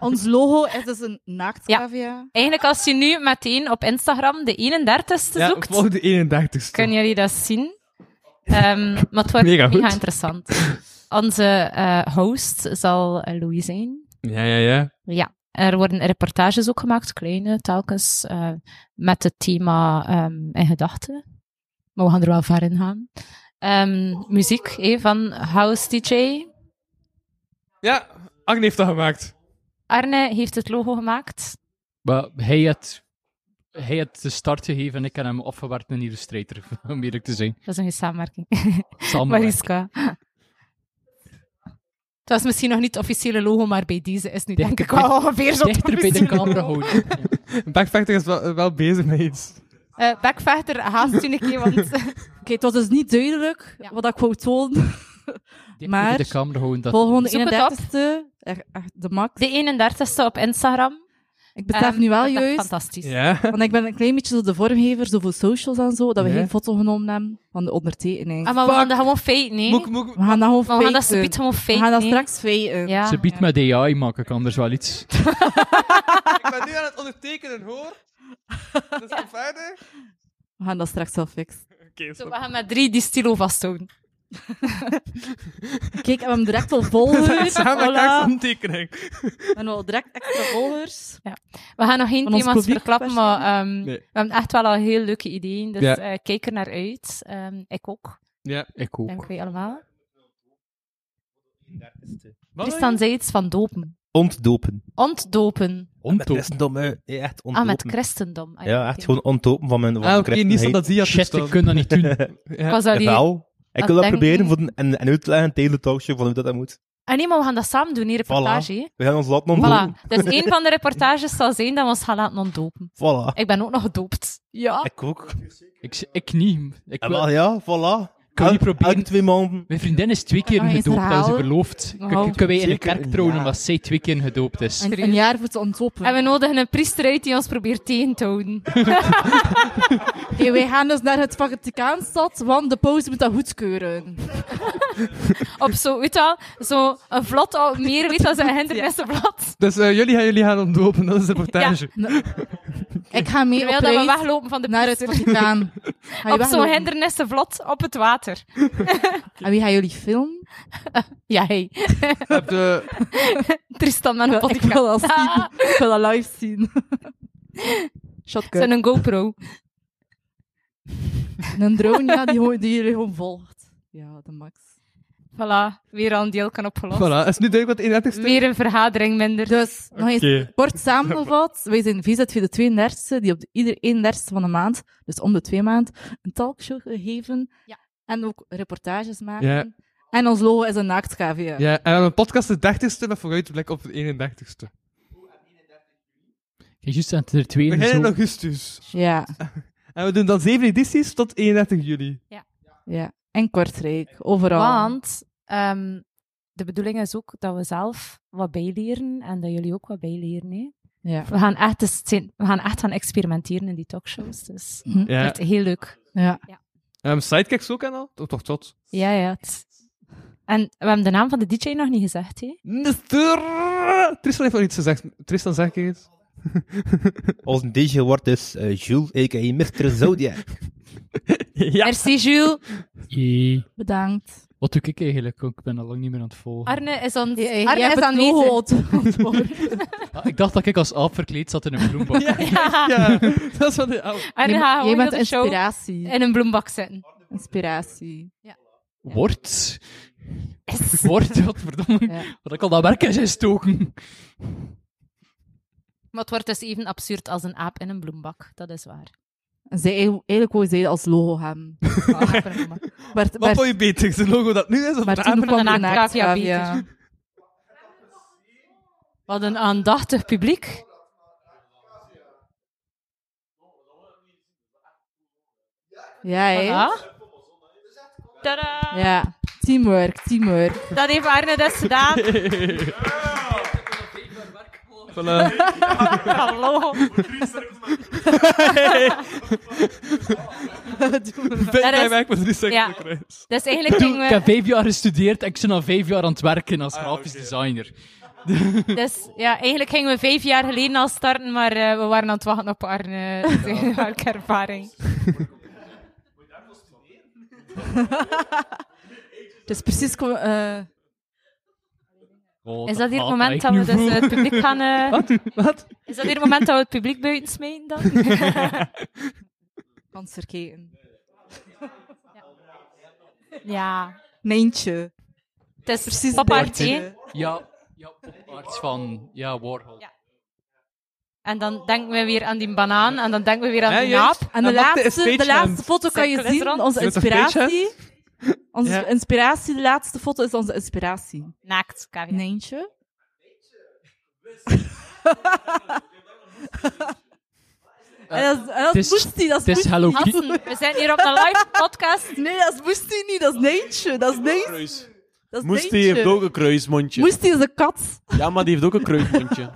S4: Ons logo is dus een naaktcavia.
S3: Eigenlijk, als je nu meteen op Instagram de 31ste
S2: Ja,
S3: zoekt,
S2: volg de 31ste.
S3: kunnen jullie dat zien. Ehm, maar het wordt
S2: Mega
S3: mega,
S2: goed.
S3: interessant. Onze eh, host zal eh, Louis zijn.
S2: Ja, ja, ja.
S3: Ja, er worden reportages ook gemaakt, kleine telkens, eh, met het thema ehm, in gedachten. Maar we gaan er wel ver in gaan. Ehm, muziek eh, van House DJ.
S2: Ja, Agne heeft dat gemaakt.
S3: Arne heeft het logo gemaakt.
S5: Maar hij had, hij had de start gegeven en ik heb hem afgewerkt in een illustrator, om eerlijk te zijn.
S3: Dat is een goede samenwerking.
S5: Samenwerking.
S3: Mariska. Het was misschien nog niet het officiële logo, maar bij deze is nu denk
S5: Dichter
S3: ik wel ongeveer zo.
S5: Dichter bij de camera houden.
S2: Backfactor is wel, wel bezig met iets.
S3: Eh backvechter, haast u een keer, want
S4: Oké, het was dus niet duidelijk
S3: Ja.
S4: wat ik wou tonen.
S5: Dichter
S4: Maar-
S5: bij de camera houden. Dat...
S4: Volgende
S3: Zoek het op.
S4: 31ste. echt- echt De max.
S3: de 31ste op Instagram.
S4: Ik besef
S3: Ehm,
S4: nu wel
S3: dat is echt
S4: juist,
S3: Fantastisch.
S2: Ja.
S4: want ik ben een klein beetje zo de vormgever, zo voor socials en zo, dat we
S2: Ja.
S4: geen foto genomen hebben van de ondertekening.
S3: Ah, maar we gaan
S2: Fuck.
S3: dat gewoon feit, nee.
S2: Moek, moek.
S4: We gaan dat gewoon
S3: Maar we gaan dat
S4: faken.
S3: subiet gewoon
S4: We
S3: feit,
S4: gaan dat
S3: nee.
S4: straks faken.
S3: Ja.
S5: Ze biedt met AI maken, kan anders wel iets.
S2: Ik ben nu aan het ondertekenen, hoor. Dat is verder.
S4: We gaan dat straks wel fixen.
S2: Oké,
S3: Zo, we gaan met drie die stilo vasthouden.
S4: Kijk, we hebben direct al volgers.
S2: Samen
S4: Voilà.
S2: een tekening.
S4: We hebben al direct extra volgers.
S3: We gaan nog geen
S4: Van ons
S3: thema's
S4: publiek
S3: verklappen,
S4: verstaan.
S3: maar ehm,
S2: Nee.
S3: we hebben echt wel al heel leuke ideeën. Dus
S2: Ja.
S3: eh, kijk er naar uit. Ehm, ik ook,
S2: Ja.
S5: Ik
S3: denk
S5: ook.
S3: wij allemaal.
S2: Wat?
S3: Dus Tristan zei iets van dopen.
S11: Ontdopen.
S3: Ontdopen.
S11: Met christendom, hè. Ja, echt
S3: Ah,
S11: ontdopen.
S3: met christendom. Ah,
S11: Ja, echt gewoon ontdopen van mijn van
S2: Ah,
S11: mijn
S2: oké, niet zo
S11: christenheid.
S2: dat die had
S5: Shit, ik kan dat niet doen.
S3: Ik was daar hier-
S11: Wel, ik wil dat
S3: denken.
S11: proberen voor een- en, en uit te leggen tegen de talkshow van hoe dat, dat moet.
S3: Ah nee, maar we gaan dat samen doen, die reportage. hè.
S11: We gaan ons laten ontdopen.
S3: Voilà. Dus een van de reportages zal zijn dat we ons gaan laten ontdopen.
S11: Voilà.
S3: Ik ben ook nog gedoopt. Ja.
S11: Ik ook.
S5: Ik, ik niet. Ik
S11: En
S5: wil,
S11: wel, ja, voilà.
S5: kan niet
S11: Elk-
S5: proberen.
S11: elke twee maanden.
S5: Mijn vriendin is twee keer
S4: Ah, is het
S5: gedoopt als ze
S4: raar?
S5: verloofd. Kun-
S4: Nou.
S5: Kunnen wij in een
S11: Zeker
S5: kerk
S11: een
S5: trouwen
S11: jaar.
S5: omdat zij twee keer gedoopt is?
S4: Een, een jaar voor te ontlopen.
S3: En we nodigen een priester uit die ons probeert tegen te houden.
S4: Oké, wij gaan dus naar het Vaticaanstad, want de paus moet dat goedkeuren.
S3: Op zo, weet je wel, zo een vlot al meer, weet je wel, zo'n hindernissenblad.
S2: Dus eh, jullie, gaan, jullie gaan ontdopen, dat is de reportage.
S4: Ik ga mee op
S3: Terwijl dat we
S4: reis
S3: weglopen van de
S4: naar het
S3: priester.
S4: Vaticaan. Ga je
S3: Op zo'n
S4: weglopen?
S3: hindernissenvlot op het water.
S4: En Ah, wie gaan jullie filmen?
S3: Ja, hey.
S2: Heb je-
S3: Tristan met een
S4: Ik wil
S3: podcast.
S4: dat zien. Ik wil dat live zien. Shotgun.
S3: Zo'n GoPro.
S4: Een drone, ja, die, ho- die jullie gewoon volgt. Ja, de max.
S3: Voilà, weer al een deel kan opgelost.
S2: voilà, is nu duidelijk wat het 31ste
S3: Weer een vergadering minder.
S4: Dus, nog eens kort samengevat. Wij zijn VZV de 32 die op de ieder 31 van de maand, dus om de twee maand, een talkshow geven.
S3: Ja.
S4: En ook reportages maken.
S2: Ja.
S4: En ons logo is een naakt KVA.
S2: Ja, en we hebben een podcast de 30ste met vooruitblik op de 31ste.
S5: Kijk, juist aan er twee
S2: We
S5: in
S2: beginnen
S5: zo.
S2: in augustus.
S4: Ja,
S2: En we doen dan 7 edities tot 31 juli.
S4: ja. En Kortrijk, overal.
S3: Want ehm, de bedoeling is ook dat we zelf wat bijleren en dat jullie ook wat bijleren. Hè?
S4: Ja.
S3: We, gaan echt eens zijn- we gaan echt gaan experimenteren in die talkshows. Dus
S4: Hm.
S2: Ja.
S3: het wordt heel leuk.
S4: ja.
S2: Ehm, sidekicks ook en al? Toch, toch, tot.
S3: Ja, ja. het- En we hebben de naam van de DJ nog niet gezegd. Hè?
S2: Mister- Tristan heeft al iets gezegd. Tristan, zeg je iets?
S11: Onze DJ wordt dus eh, Jules, a.k.a. Mr. Zodiac.
S2: Ja.
S3: Merci, Jules.
S5: Jee.
S4: Bedankt.
S5: Wat doe ik eigenlijk? ook? Ik ben al lang niet meer aan het volgen.
S3: Arne is, on...
S4: Jij
S3: Arne
S4: hebt
S3: is
S4: het
S3: aanwezig.
S4: logo ontworpen.
S5: Ah, ik dacht dat ik als aap verkleed zat in een bloembak.
S3: Ja.
S2: Ja, dat is wat hij... Oh.
S3: Arne gaat
S4: Jij- Jij
S3: gewoon heel
S4: bent
S3: de show
S4: inspiratie.
S3: in een bloembak zitten.
S4: Inspiratie.
S5: Wordt.
S3: Yes.
S5: Wordt, wat verdomme.
S4: Ja.
S5: Wat ik al dat werk is gestoken.
S3: Maar het wordt dus even absurd als een aap in een bloembak. Dat is waar.
S4: En zij, e- eigenlijk wou zij dat als logo hebben. Bert,
S2: Wat vond
S4: Bert,
S2: je beter, zijn logo dat nu is? Of
S4: maar
S2: de aap?
S4: toen kwam
S3: dan
S4: de
S3: een
S4: naakt
S3: cavia
S4: cavia.
S3: Wat een aandachtig publiek.
S4: Ja, hè?
S3: Voilà. Tadaa.
S4: Ja. Teamwork, teamwork.
S3: Dat heeft Arne dus gedaan.
S2: Voilà.
S3: Hallo.
S2: Ben jij
S3: is-
S2: werk met drie
S3: Ja.
S2: seconden kruis.
S3: Dus eigenlijk gingen
S5: Ik heb
S3: we...
S5: vijf jaar gestudeerd en ik ben al vijf jaar aan het werken
S11: Ah,
S5: als grafisch designer.
S3: Dus, ja, eigenlijk gingen we vijf jaar geleden al starten, maar eh, we waren aan het wachten op Arne. Zijn welke ervaring.
S4: Het is precies... co- eh,
S5: God,
S3: Is dat hier het
S5: haat
S3: moment
S5: ik
S3: dat
S5: nu
S3: we dus
S5: voel.
S3: eh, het publiek gaan... eh,
S2: Wat?
S3: Is dat hier het moment dat we het publiek buiten smijten dan?
S4: kans verkeken.
S3: Ja.
S4: Nijntje.
S3: Het is
S4: Precies.
S3: precies pop art,
S5: Martin.
S3: hè.
S5: Ja, ja poparts van ja, Warhol.
S3: Ja. En dan denken we weer aan die banaan, en dan denken we weer aan
S2: Hè,
S3: die
S2: juist.
S3: naap.
S4: En de
S2: Dan maakte
S4: laatste,
S2: een
S4: de laatste
S2: stagehand.
S4: foto kan je
S3: Cirkel is
S4: zien,
S3: rond.
S4: onze
S2: Met een
S4: inspiratie. Onze
S2: Ja.
S4: inspiratie, de laatste foto is onze inspiratie.
S3: Naakt, Kavia.
S4: Nijntje. en dat is, en dat
S5: het
S4: is
S5: is-
S4: Boestie, dat
S5: Het is
S4: is Boestie.
S5: Hello Kitty.
S3: Gasten, we zijn hier op een live podcast.
S4: Nee, dat is Boestie niet, dat is Nijntje. Dat is Nijntje.
S7: Kruis.
S4: Dat is
S7: Moest die
S4: Nijntje.
S7: heeft ook een kruismondje.
S4: Moestie is een kat.
S7: Ja, maar die heeft ook een kruismondje.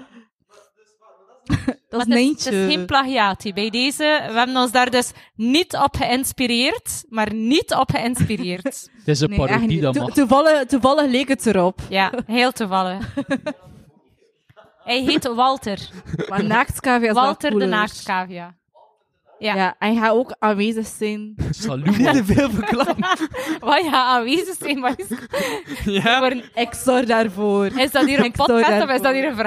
S4: Dat is
S3: Maar het, is,
S4: Nijntje.
S3: het is geen plagiaat hè. bij deze. We hebben ons daar dus niet op geïnspireerd, maar niet op geïnspireerd.
S5: Het is een
S4: Nee, echt
S5: parodie
S4: niet.
S5: dat
S4: To-
S5: mag.
S4: toevallig, toevallig leek het erop.
S3: Ja, heel toevallig. Hij heet Walter.
S4: Maar naaktskavia is wel
S3: Walter de
S4: cooler.
S3: Naaktskavia. Ja.
S4: Ja, en ga ook aanwezig zijn.
S5: Salut.
S2: Niet
S5: man.
S2: te veel verklapt.
S3: Wat ja, aanwezig zijn, maar is,
S2: Ja.
S3: worden-
S4: Ik zorg daarvoor.
S3: is dat hier een
S4: Ik zou
S3: podcast of is dat
S4: daarvoor-
S3: hier een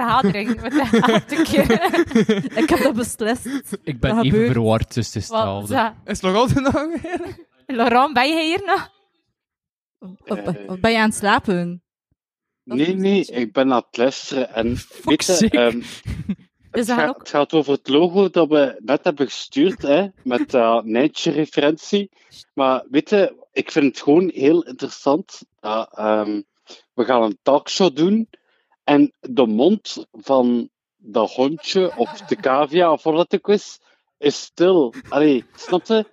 S3: vergadering? Wat de elfde keer.
S4: Ik heb dat beslist.
S5: Ik
S4: Dat
S5: ben even
S4: gebeurt.
S5: verward, dus het is
S3: Wat,
S5: hetzelfde.
S3: zo.
S2: Is het nog altijd nog weer?
S3: Laurent, ben je hier nog?
S4: Of- of- of Ben je aan het slapen?
S9: Nee, nee, ik ben aan het luisteren. En weet je,
S12: sake.
S9: ehm, het,
S3: Dus daar
S9: gaat,
S3: ook-
S9: het gaat over het logo dat we net hebben gestuurd, hè, met dat Nijntje-referentie. Maar weet je, ik vind het gewoon heel interessant. dat, ehm, we gaan een talkshow doen en de mond van dat hondje of de cavia of wat het ook is, is stil. Allee, snap je?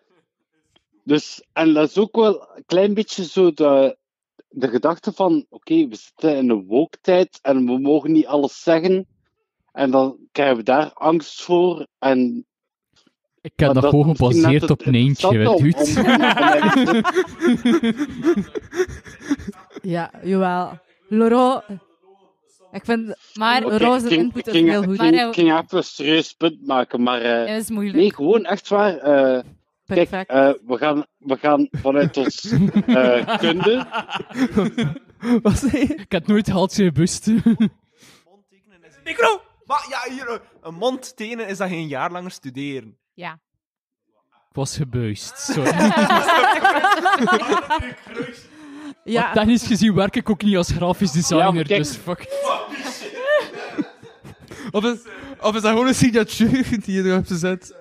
S9: Dus, en dat is ook wel een klein beetje zo de, de gedachte van, oké, we zitten in een wooktijd en we mogen niet alles zeggen. En dan krijgen we daar angst voor. En
S5: Ik heb
S9: Maar
S5: dat,
S9: dat
S5: gewoon
S9: misschien
S5: gebaseerd
S9: net het
S5: op Nijntje, weet
S9: interessante
S5: u
S9: om-
S5: het?
S4: Ja, jawel. Laurent... Ik vind... Maar
S9: Oké,
S4: Laurent zijn
S9: ik ging- ik
S4: input is
S9: ging-
S4: heel goed.
S9: Ik ging, ik ging even een serieus punt maken, maar... eh,
S4: Ja, dat is moeilijk.
S9: Nee, gewoon echt waar. eh, kijk, eh, we, gaan, we gaan vanuit ons eh, kunde...
S5: Ik had nooit gehad in bust.
S12: Micro! Maar ja, hier, eh, een mond tenen is dat geen jaar langer studeren.
S3: Ja.
S5: Ik was gebuist, sorry.
S4: Ja.
S5: Maar technisch gezien werk ik ook niet als grafisch designer,
S2: kijk-
S5: dus fuck.
S2: Of is, of is dat gewoon een signatuur die je erop zet?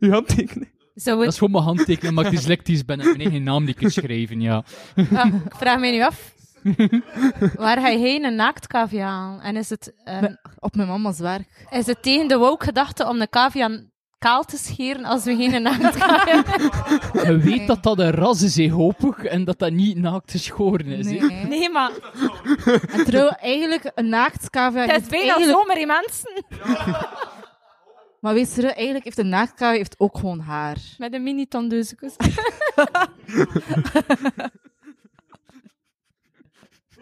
S2: Je handtekening.
S3: Zou
S5: Dat
S3: het-
S5: is gewoon mijn handtekening, maar ik dyslectisch ben en mijn eigen naam die ik kan schrijven, ja.
S3: Ah, ik vraag mij nu af. Waar ga je heen een naaktcavia halen? En is het... ehm,
S4: Op mijn mama's werk.
S3: Is het tegen de woke gedachte om de cavia kaal te scheren als we geen naaktcavia
S5: Je weet dat dat een ras is, hè, hoop ik, en dat dat niet naakt te schoren is. hè.
S3: Nee, maar...
S4: En trouw, eigenlijk een naaktcavia...
S3: Het is bijna
S4: eigenlijk-
S3: zomer, die mensen.
S4: Maar weet je, eigenlijk heeft een naaktcavia heeft ook gewoon haar.
S3: Met een mini-tondeuzekus.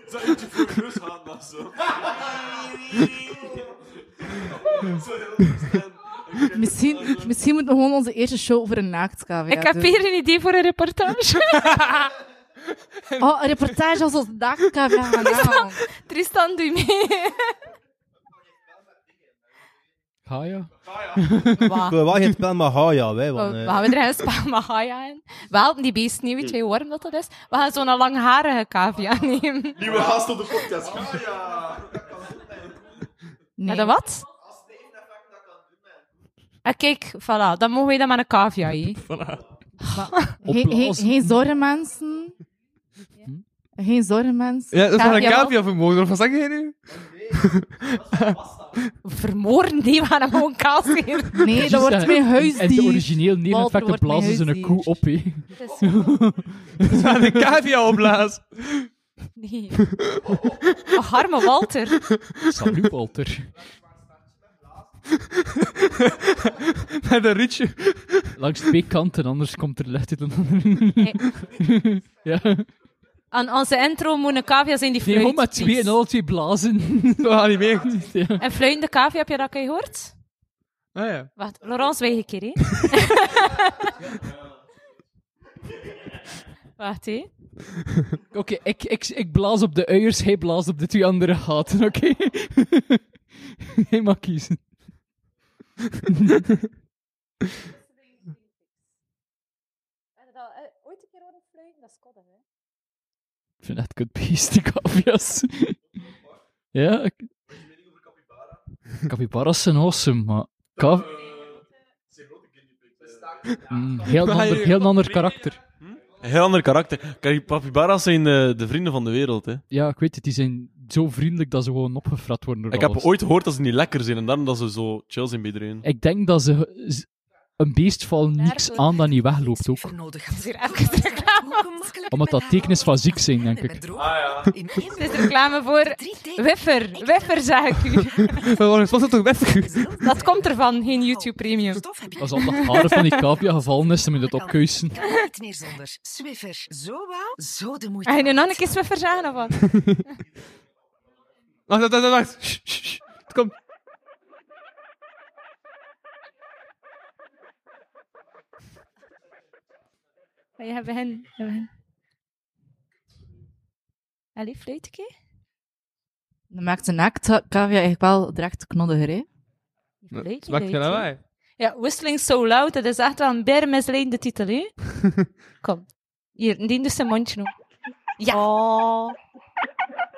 S12: Zou je het voor je neus gaan dan zo?
S4: Misschien, misschien moeten we gewoon onze eerste show over een naaktcavia
S3: Ik heb
S4: doen.
S3: hier een idee voor een reportage.
S4: Oh, een reportage als onze naaktcavia gaan halen.
S3: Tristan, doe mee.
S5: Ga ja.
S3: Wa.
S11: Ik wil wel geen spel maar ga ja, wij. Want,
S3: we
S11: eh,
S3: gaan er een spel Mahaya in. We helpen die beesten niet,
S9: Hm.
S3: weet je hoe warm dat, dat is? We gaan zo'n langharige cavia nemen.
S12: Nieuwe gast op de podcast. Ah, ja.
S3: Nee. Met een wat? Ah, kijk, voilà. Dan mogen wij dat met een cavia, hè.
S4: Geen, geen, geen zorgen, mensen.
S9: Hm?
S4: Geen zorgen, mensen.
S2: Ja, dat is nog een cavia vermoorden. Wat zeg jij nu?
S3: Vermoorden, die we gaan hem gewoon kaal scheren.
S4: Nee, dat wordt mijn
S5: En de
S4: huisdier.
S5: origineel
S4: Walter
S5: neveneffecten
S4: wordt mijn
S5: blazen ze een koe op, hè.
S2: We gaan een cavia opblazen.
S3: Nee. Oh, arme Walter.
S5: Salut, Walter.
S2: Met een rietje.
S5: Langs twee kanten, anders komt er lucht uit een Ja.
S3: Aan onze intro moet een cavia zijn die
S5: Nee,
S3: fluit.
S5: gewoon met twee en
S3: please.
S5: al twee blazen.
S2: We gaan niet mee.
S5: Ja.
S3: En fluitende cavia, heb je dat gehoord?
S2: Ah ja.
S3: Wacht, Laurence, wij een keer, hè. Wacht, hè.
S5: Oké, ik, ik, ik blaas op de uiers, hij blaast op de twee andere gaten, oké? hij mag kiezen.
S6: Eh, Ooit een keer horen fluiten, dat is koddig, hè?
S5: ik vind het kut beest, die cavia's. ja, ik... Capybaras zijn awesome, maar... Cav... Mm, heel, ander, heel ander karakter.
S7: Een heel ander karakter. Kijk, capybaras zijn eh, de vrienden van de wereld, hè.
S5: Ja, ik weet het, die zijn zo vriendelijk dat ze gewoon opgefrat worden door
S7: Ik heb
S5: alles.
S7: ooit gehoord dat ze niet lekker zijn en daarom dat ze zo chill zijn bij iedereen.
S5: Ik denk dat ze z- een beest valt niks aan dat niet wegloopt ook.
S13: nodig.
S3: is hier elke keer reclame.
S5: Omdat dat teken is van ziek zijn, denk ik.
S3: Dit is reclame voor Wiffer. Wiffer, zeg ik u.
S2: We worden gesponsord door Westku.
S3: Dat komt ervan, geen YouTube Premium.
S5: Als al dat haren van die cavia gevallen is, dan moet je dat opkuisen.
S13: Kan niet meer zonder. Swiffer, zo wauw, zo de moeite.
S3: Ga je nu nog een keer Swiffer zeggen, of wat?
S2: Wacht, wacht, wacht, wacht. Shh, shh, shh. Het komt.
S3: Maar je hebt hen. je hebt hen. Allee, fluit een keer.
S4: Dan maakt een naaktcavia eigenlijk wel direct knoddiger, hè?
S3: Fluit,
S2: Het maakt
S3: fluit,
S2: geen
S3: hè.
S2: lawaai.
S3: Ja, Whistling So Loud, dat is echt wel een bijna misleidende titel, hè? dus Kom. Hier, die doet zijn mondje nog. Ja.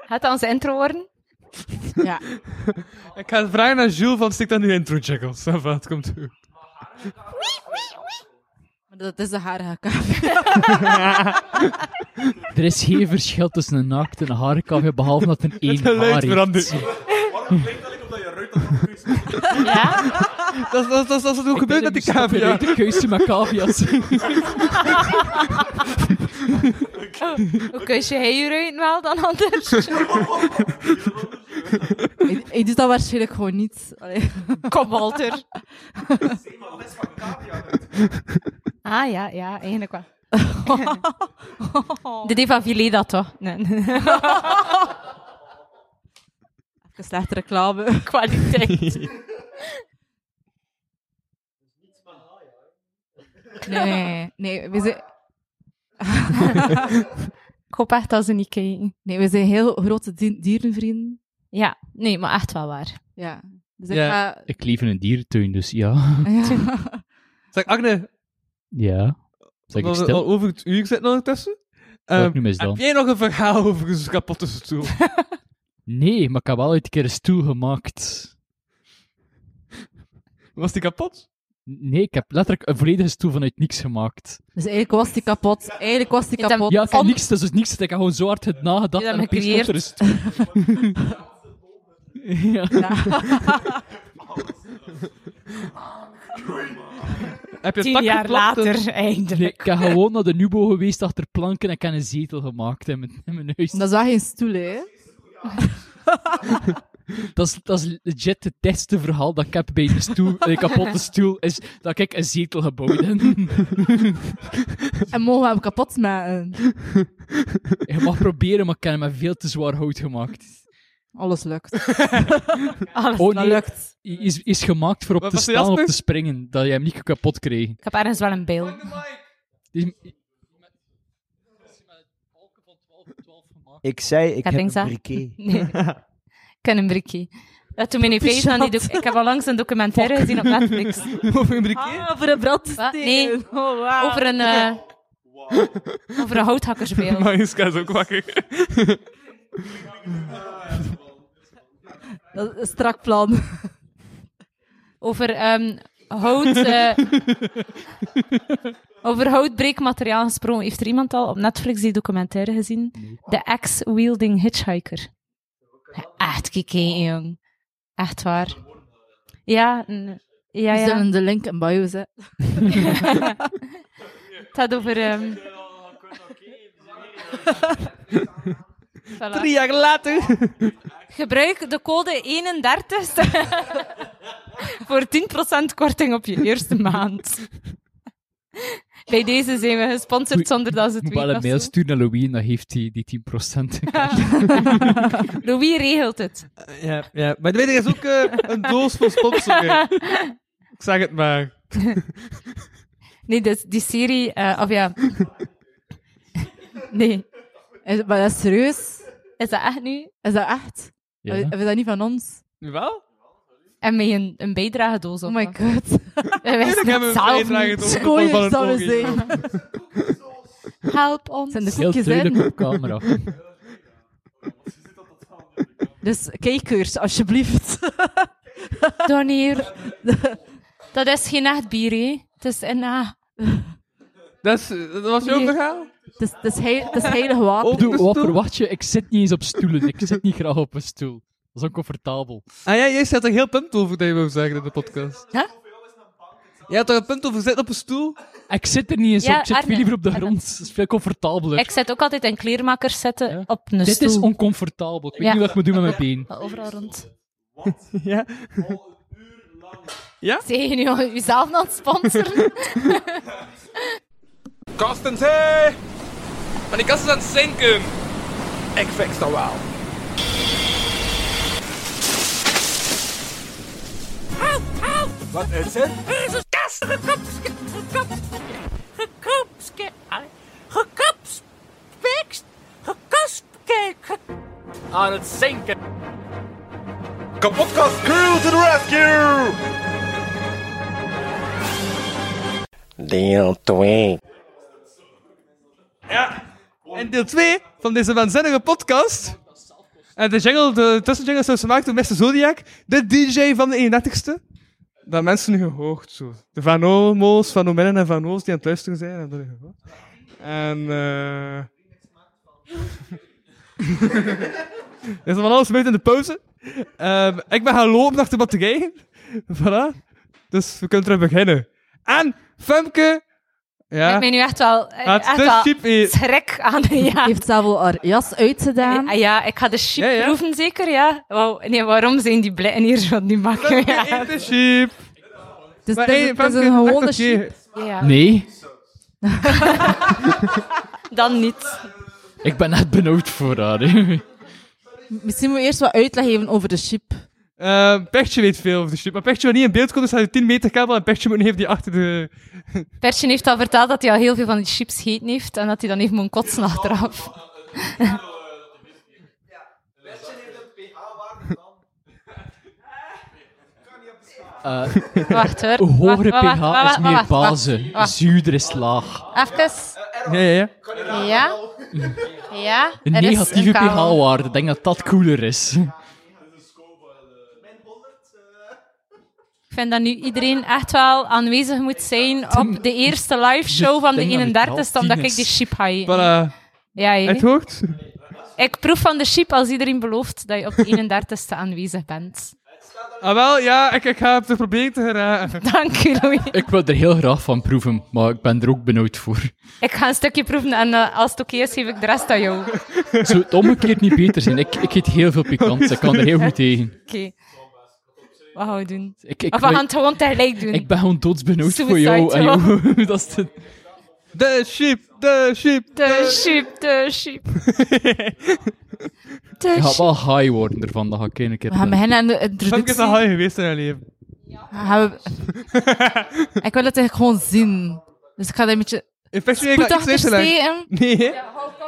S3: Gaat dat onze intro worden? Ja.
S2: Ik ga het vragen aan Jules van stik dan nu intro jackals. Het komt goed.
S4: Maar dat is de harige kaaf.
S5: Er is geen verschil tussen een naakt en een harenkafje, behalve dat er één
S2: geluid
S5: haar
S2: verandert.
S5: Waarom
S12: klinkt dat
S5: op
S12: dat je
S5: ruikt
S2: Dat is- dat is- dat is wat er ook gebeurt met die cavia.
S5: Ik ben de keuze met cavia's.
S3: Hoe kus je hij eruit wel dan anders?
S4: ik, ik doe dat waarschijnlijk gewoon niet. Allee.
S3: Kom, Walter. ah ja, ja, eigenlijk wel. De D van Villet dat toch? Nee.
S4: Even slechte reclame.
S3: Kwaliteit.
S4: Nee, nee, we zijn...
S3: Ik hoop echt dat ze niet kijken.
S4: Nee, we zijn heel grote di- dierenvrienden.
S3: Ja, nee, maar echt wel waar.
S4: Ja. Dus ik
S5: Ja,
S4: ga...
S5: ik leef in een dierentuin, dus ja.
S4: Ja.
S2: Zeg, Agne,
S5: Ja. Zeg ik
S2: omdat we
S5: stil.
S2: al over het uur zitten ondertussen.
S5: Wat
S2: Ehm,
S5: nu mis dan?
S2: Heb jij nog een verhaal over een kapotte stoel?
S5: Nee, maar ik heb wel ooit een keer een stoel gemaakt.
S2: Was die kapot?
S5: Nee, ik heb letterlijk een volledige stoel vanuit niks gemaakt.
S4: Dus eigenlijk was die kapot. Eigenlijk was die kapot.
S5: Ja, ik heb niks, dus, dus niks. Ik heb gewoon zo hard het nagedacht.
S4: Je hebt hem
S5: en opeens komt er een stoel. ja.
S2: Heb
S3: je Tien tak jaar geklapt, later, of? eindelijk.
S5: dus. Nee, ik ben gewoon naar de Nubo geweest achter planken en ik heb een zetel gemaakt in mijn, in mijn huis.
S4: Dat is wel geen stoel, hè?
S5: Dat is, dat is legit het beste verhaal dat ik heb bij een stoel, een kapotte stoel, is dat ik een zetel gebouwd heb.
S4: En mogen we hem kapot maken?
S5: Je mag proberen, maar ik heb hem met veel te zwaar hout gemaakt.
S4: Alles lukt.
S3: Alles
S5: oh, nee,
S4: lukt.
S5: Is, is gemaakt voor op
S3: Wat
S5: te
S3: was de
S5: staan, op
S3: Jasper?
S5: te springen, dat je hem niet kapot kreeg.
S3: Ik heb ergens wel een beeld.
S5: Die-
S8: Ik zei, ik heb een
S3: Kettingzaag?
S8: briquet.
S3: Nee. Ik heb een briquet. Dat toen mijn face aan die doc- Ik heb al langs een documentaire gezien op Netflix.
S2: Over een briquet?
S4: over Ah, een brandsteen.
S3: Wat? Nee.
S4: Oh,
S3: Over een... eh, Over een houthakkerspeel.
S2: Mariska is ook wakker.
S4: Dat is een strak plan.
S3: Over ehm, hout... eh, over houtbreekmateriaal gesproken. Heeft er iemand al op Netflix die documentaire gezien? The Axe-Wielding Hitchhiker. Echt gekeken, jong. Echt waar. Ja, n- ja,
S4: We
S3: ja.
S4: zullen de link in bio zetten.
S3: Het gaat over... ehm, Voilà.
S2: Drie jaar later.
S3: Gebruik de code 31 voor 10% korting op je eerste maand. Bij deze zijn we gesponsord zonder dat ze het
S5: Moet wel een
S3: weten.
S5: mail
S3: of zo.
S5: sturen naar Louis en dan heeft hij die 10%.
S3: Louis regelt het.
S2: Ja, ja. Maar de is ook eh, een doos vol sponsoring. Ik zeg het maar.
S3: Nee, dus die serie, eh, of ja. Nee.
S4: Is, maar dat is serieus.
S3: Is dat echt nu?
S4: Is dat echt?
S5: Ja.
S4: Hebben we dat niet van ons?
S2: Nu wel?
S3: En met een, een bijdragedoos op.
S4: Oh my god.
S3: Wij wisten
S2: hebben
S3: het
S2: we
S3: zelf
S2: bijdragen
S3: niet.
S2: doos op.
S4: Goeie
S2: Van het
S4: zou
S2: oog, ja.
S4: zijn.
S3: Help ons.
S4: Zijn de
S5: Heel
S4: koekjes
S5: duidelijk
S4: in?
S5: op camera.
S4: Dus kijkers, alsjeblieft.
S3: Doneer. Dat is geen echt bier, hè. Het is een... ah.
S2: Dat, is, dat was jouw
S3: Nee.
S2: verhaal?
S4: Het is, het is, heil, het is heilig water.
S5: Doe, wat verwacht je? Ik zit niet eens op stoelen. Ik zit niet graag op een stoel. Dat is oncomfortabel.
S2: Ah ja, jij had er heel punt over dat je wou zeggen in de podcast.
S3: Ja?
S2: Jij had er een punt over zitten op een stoel?
S5: Ik zit er niet eens
S3: Ja,
S5: op. Ik zit
S3: Arne.
S5: veel liever op de grond. Dat is veel comfortabeler.
S3: Ik zet ook altijd een kleermaker zetten op een
S5: Dit
S3: stoel.
S5: is oncomfortabel. Ik weet
S3: Ja.
S5: niet wat ik moet doen met mijn been.
S3: Overal rond.
S2: ja. Ja?
S3: Zeg je nu al jezelf aan het sponsoren?
S14: Kastens, hé!
S2: Maar die kast is aan het zinken.
S14: Ik fix dat wel. Wat is het?
S13: Er is een kast gekopske, gekopske, gekopske, gekopspekst, gekospkeken.
S14: Aan het zinken. Kapotkast crew to the rescue!
S15: Deel 2.
S2: En deel 2 van deze waanzinnige podcast En de jingle, de tussenjingle is zelfs gemaakt door Mr. Zodiac, de DJ van de 31ste. Dat mensen nu gehoord zo. De Van Olmo's, Van Omenen en Van O's die aan het luisteren zijn, hebben dat gehoord. En eh Er is van alles gebeurd in de pauze. Ehm, ik ben gaan lopen naar de batterijen. voilà. Dus we kunnen terug beginnen. En Femke...
S3: Ik
S2: Ja.
S3: ben nu echt wel, eh,
S2: Ah, het
S3: echt
S2: is
S3: wel
S2: cheap, eh.
S3: schrik aan. Ja.
S4: Heeft zelf al haar jas uitgedaan.
S3: Ah ja, ik ga de chip
S4: Ja, ja.
S3: proeven zeker, ja. Wauw, nee, waarom zijn die blikken hier zo nu maken? Ja.
S2: Het is cheap.
S4: Dus
S3: Maar
S4: het is,
S3: hey,
S4: het is
S3: Femke,
S4: een gewone
S3: echt oké.
S4: sheep.
S3: Ja.
S5: Nee,
S3: Dan niet.
S5: ik ben echt benauwd voor haar. hè.
S4: Misschien moet we eerst wat uitleg geven over de sheep.
S2: Ehm Pertje weet veel over de shit, maar Pertje wil niet in beeld komen, dus hij heeft 10 meter kabel en Pertje moet nog even die achter de...
S3: Pertje heeft al verteld dat hij al heel veel van die chips gegeten heeft en dat hij dan even moet kotsen achteraf.
S2: eh,
S5: Eh,
S3: Wacht, hoor.
S5: Een hogere
S3: Wacht, wacht,
S5: pH
S3: wacht,
S5: is meer
S3: wacht, wacht,
S5: bazen,
S3: wacht.
S5: zuurder is laag.
S3: Even.
S2: Ja, ja, ja.
S3: Ja. Ja.
S5: Een
S3: er is
S5: negatieve
S3: een kabel.
S5: pH-waarde, ik denk dat dat cooler is.
S3: Ik vind dat nu iedereen echt wel aanwezig moet zijn op de eerste live show van de
S2: denk dat het
S3: 31ste, omdat ik
S2: is.
S3: die chip ga eten.
S2: Voilà.
S3: Ja, hè.
S2: Het hoort?
S3: Ik proef van de chip als iedereen belooft dat je op de 31ste aanwezig bent.
S2: Ah wel, ja, ik, ik ga het proberen te geraken.
S3: Dank u, Louis.
S5: Ik wil er heel graag van proeven, maar ik ben er ook benauwd voor.
S3: Ik ga een stukje proeven en eh, als het oké is, geef ik de rest aan jou. Oké.
S5: Zou het omgekeerd niet beter zijn? Ik, ik eet heel veel pikant, ik kan er heel goed tegen.
S3: Wat gaan we doen?
S5: Ik- ik
S3: of we
S5: wil-
S3: gaan het gewoon tegelijk doen.
S5: Ik ben gewoon doodsbenauwd voor
S3: Suicide
S5: jou. En
S3: roll.
S5: jou dat is de...
S2: De sheep, de sheep,
S3: De sheep, de sheep. De
S5: Je gaat
S3: sheep.
S5: wel high worden ervan, dat ga ik een keer
S4: We gaan
S5: doen.
S4: beginnen aan de
S2: Femke
S4: introductie.
S2: is al high geweest in haar leven.
S4: Gaan we- ik wil het echt gewoon zien. Dus ik ga daar een beetje
S2: Infectie,
S4: spoed achter steken.
S2: Nee.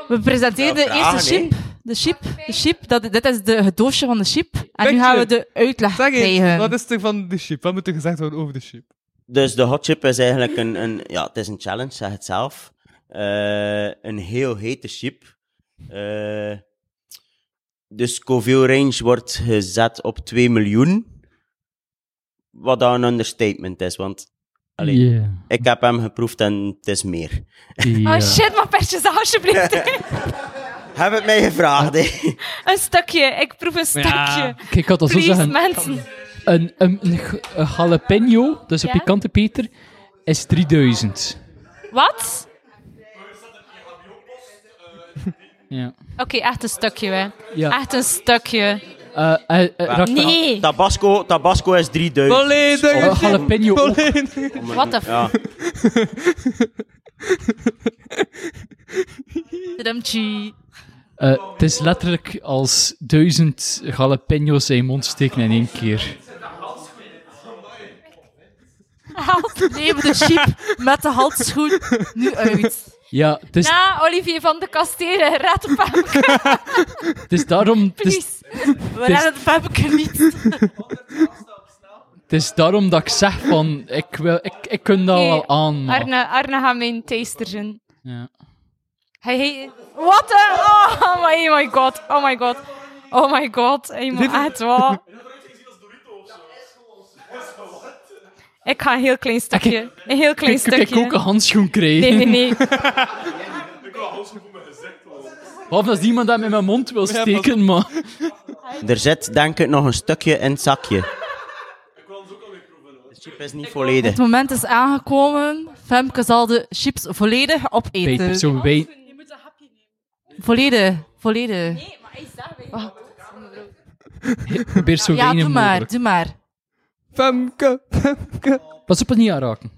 S4: We presenteren de
S2: Ja, vragen,
S4: eerste sheep. De sheep. De sheep. Dat, dit is de, het doosje van de sheep. En nu gaan we de uitleg
S2: Zeg eens,
S4: krijgen.
S2: wat is er van de sheep? Wat moet er gezegd worden over de sheep?
S16: Dus de hot chip is eigenlijk een, een, ja, het is een challenge, zeg het zelf. Eh, een heel hete chip. Eh, de Scoville range wordt gezet op 2 miljoen. Wat dan een understatement is, want allee,
S5: Yeah.
S16: ik heb hem geproefd en het is meer.
S3: Oh shit, maar persjes, alsjeblieft.
S16: Heb het mij gevraagd, hè?
S3: een stukje, ik proef een stukje.
S5: Kijk, ik had dat zo
S3: Please,
S5: zeggen.
S3: mensen.
S5: Een, een, een, g- een jalapeno, dus een
S3: Ja?
S5: pikante peter, is 3000.
S3: Wat?
S5: Ja.
S3: Oké, echt een stukje, hè.
S5: Ja.
S3: Echt een stukje.
S5: Eh,
S3: Nee.
S16: Tabasco, Tabasco is 3000.
S5: Volledig
S16: Om-
S5: een
S4: Oh.
S5: chip. Eh, Jalapeno ook.
S16: om- om-
S3: What the
S16: ja.
S4: Tadamtje.
S5: Eh, het is letterlijk als 1000 jalapeno's in je mond steken in één keer.
S4: Help. Neem de sheep met de handschoen nu uit.
S5: Ja, het is,
S3: Na Olivier van de Kastelen, red de Femke.
S5: het is daarom... Het is,
S3: Please. We redden de Femke niet.
S5: het is daarom dat ik zeg van, ik, wil, ik, ik kun dat wel aan, maar-
S3: Arne, Arne gaat mijn taster zijn.
S5: Ja.
S3: Hij heet... What the... Oh my, oh my god, oh my god. Oh my god, hij moet echt wat. Ik ga een heel klein stukje. Een heel klein
S5: Ik
S3: stukje.
S5: ik ook een handschoen krijgen.
S3: Nee, nee, nee.
S5: Of als iemand dat met mijn mond wil steken, maar...
S16: Er zit denk ik nog een stukje in het zakje. Ik wil ook De chip is niet volledig.
S4: Het moment is aangekomen. Femke zal de chips volledig opeten.
S5: Peter, zo wij...
S4: Volledig. Volledig. Nee, maar hij
S5: Probeer zo
S4: Ja,
S5: weinig
S4: doe maar.
S5: mogelijk.
S4: Doe maar.
S2: Femke, Femke.
S5: Pas op het niet aanraken.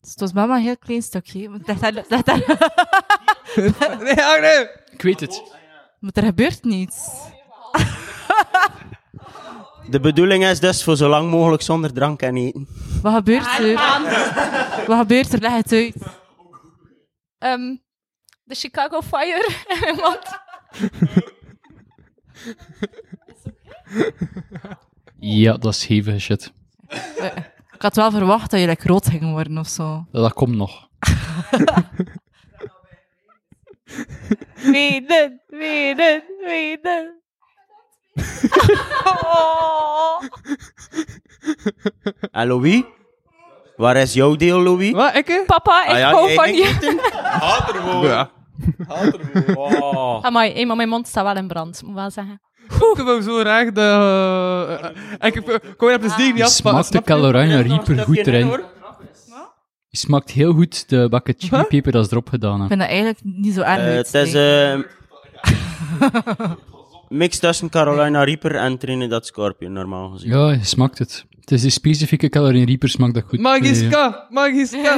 S4: Dus het was mama een heel klein stukje. Want Dat, dat, dat, dat-
S2: Nee, ah, nee.
S5: Ik weet het.
S4: Maar er gebeurt niets.
S16: De bedoeling is dus voor zo lang mogelijk zonder drank en eten.
S4: Wat gebeurt er? Wat gebeurt er? Leg het uit.
S3: Ehm, de Chicago Fire. Want...
S5: Ja, dat is hevige shit.
S4: Eh, Ik had wel verwacht dat je like, rood ging worden of zo.
S5: Dat komt nog.
S3: Wenen, wenen, wenen. Oh.
S16: En Louis? Waar is jouw deel, Louis?
S2: Wat, ik?
S3: Papa, ik
S16: Ah ja,
S3: hou
S16: nee,
S3: van
S16: ik
S3: je.
S7: Haat er gewoon.
S16: Ja.
S7: Haat er gewoon.
S5: Oh.
S7: Wow.
S3: Amai, hé, maar mijn mond staat wel in brand, moet wel zeggen.
S2: Ik wou zo graag de... eh, eh, ik ik wou dat plezier niet
S5: Je
S2: af.
S5: smaakt de Calorana Reaper goed erin. Je smaakt heel goed de bakken chilipeper dat ze erop gedaan
S4: Ik
S5: hebben.
S4: vind dat eigenlijk niet zo erg.
S16: Eh,
S4: uit
S16: Het
S4: te
S16: is
S4: spreken.
S16: een mix tussen Carolina Reaper en Trinidad Scorpion, normaal gezien.
S5: Ja, je smaakt het. Het is die specifieke Calorana Reaper smaakt dat goed. Eh, Ja.
S2: Magiska, magiska.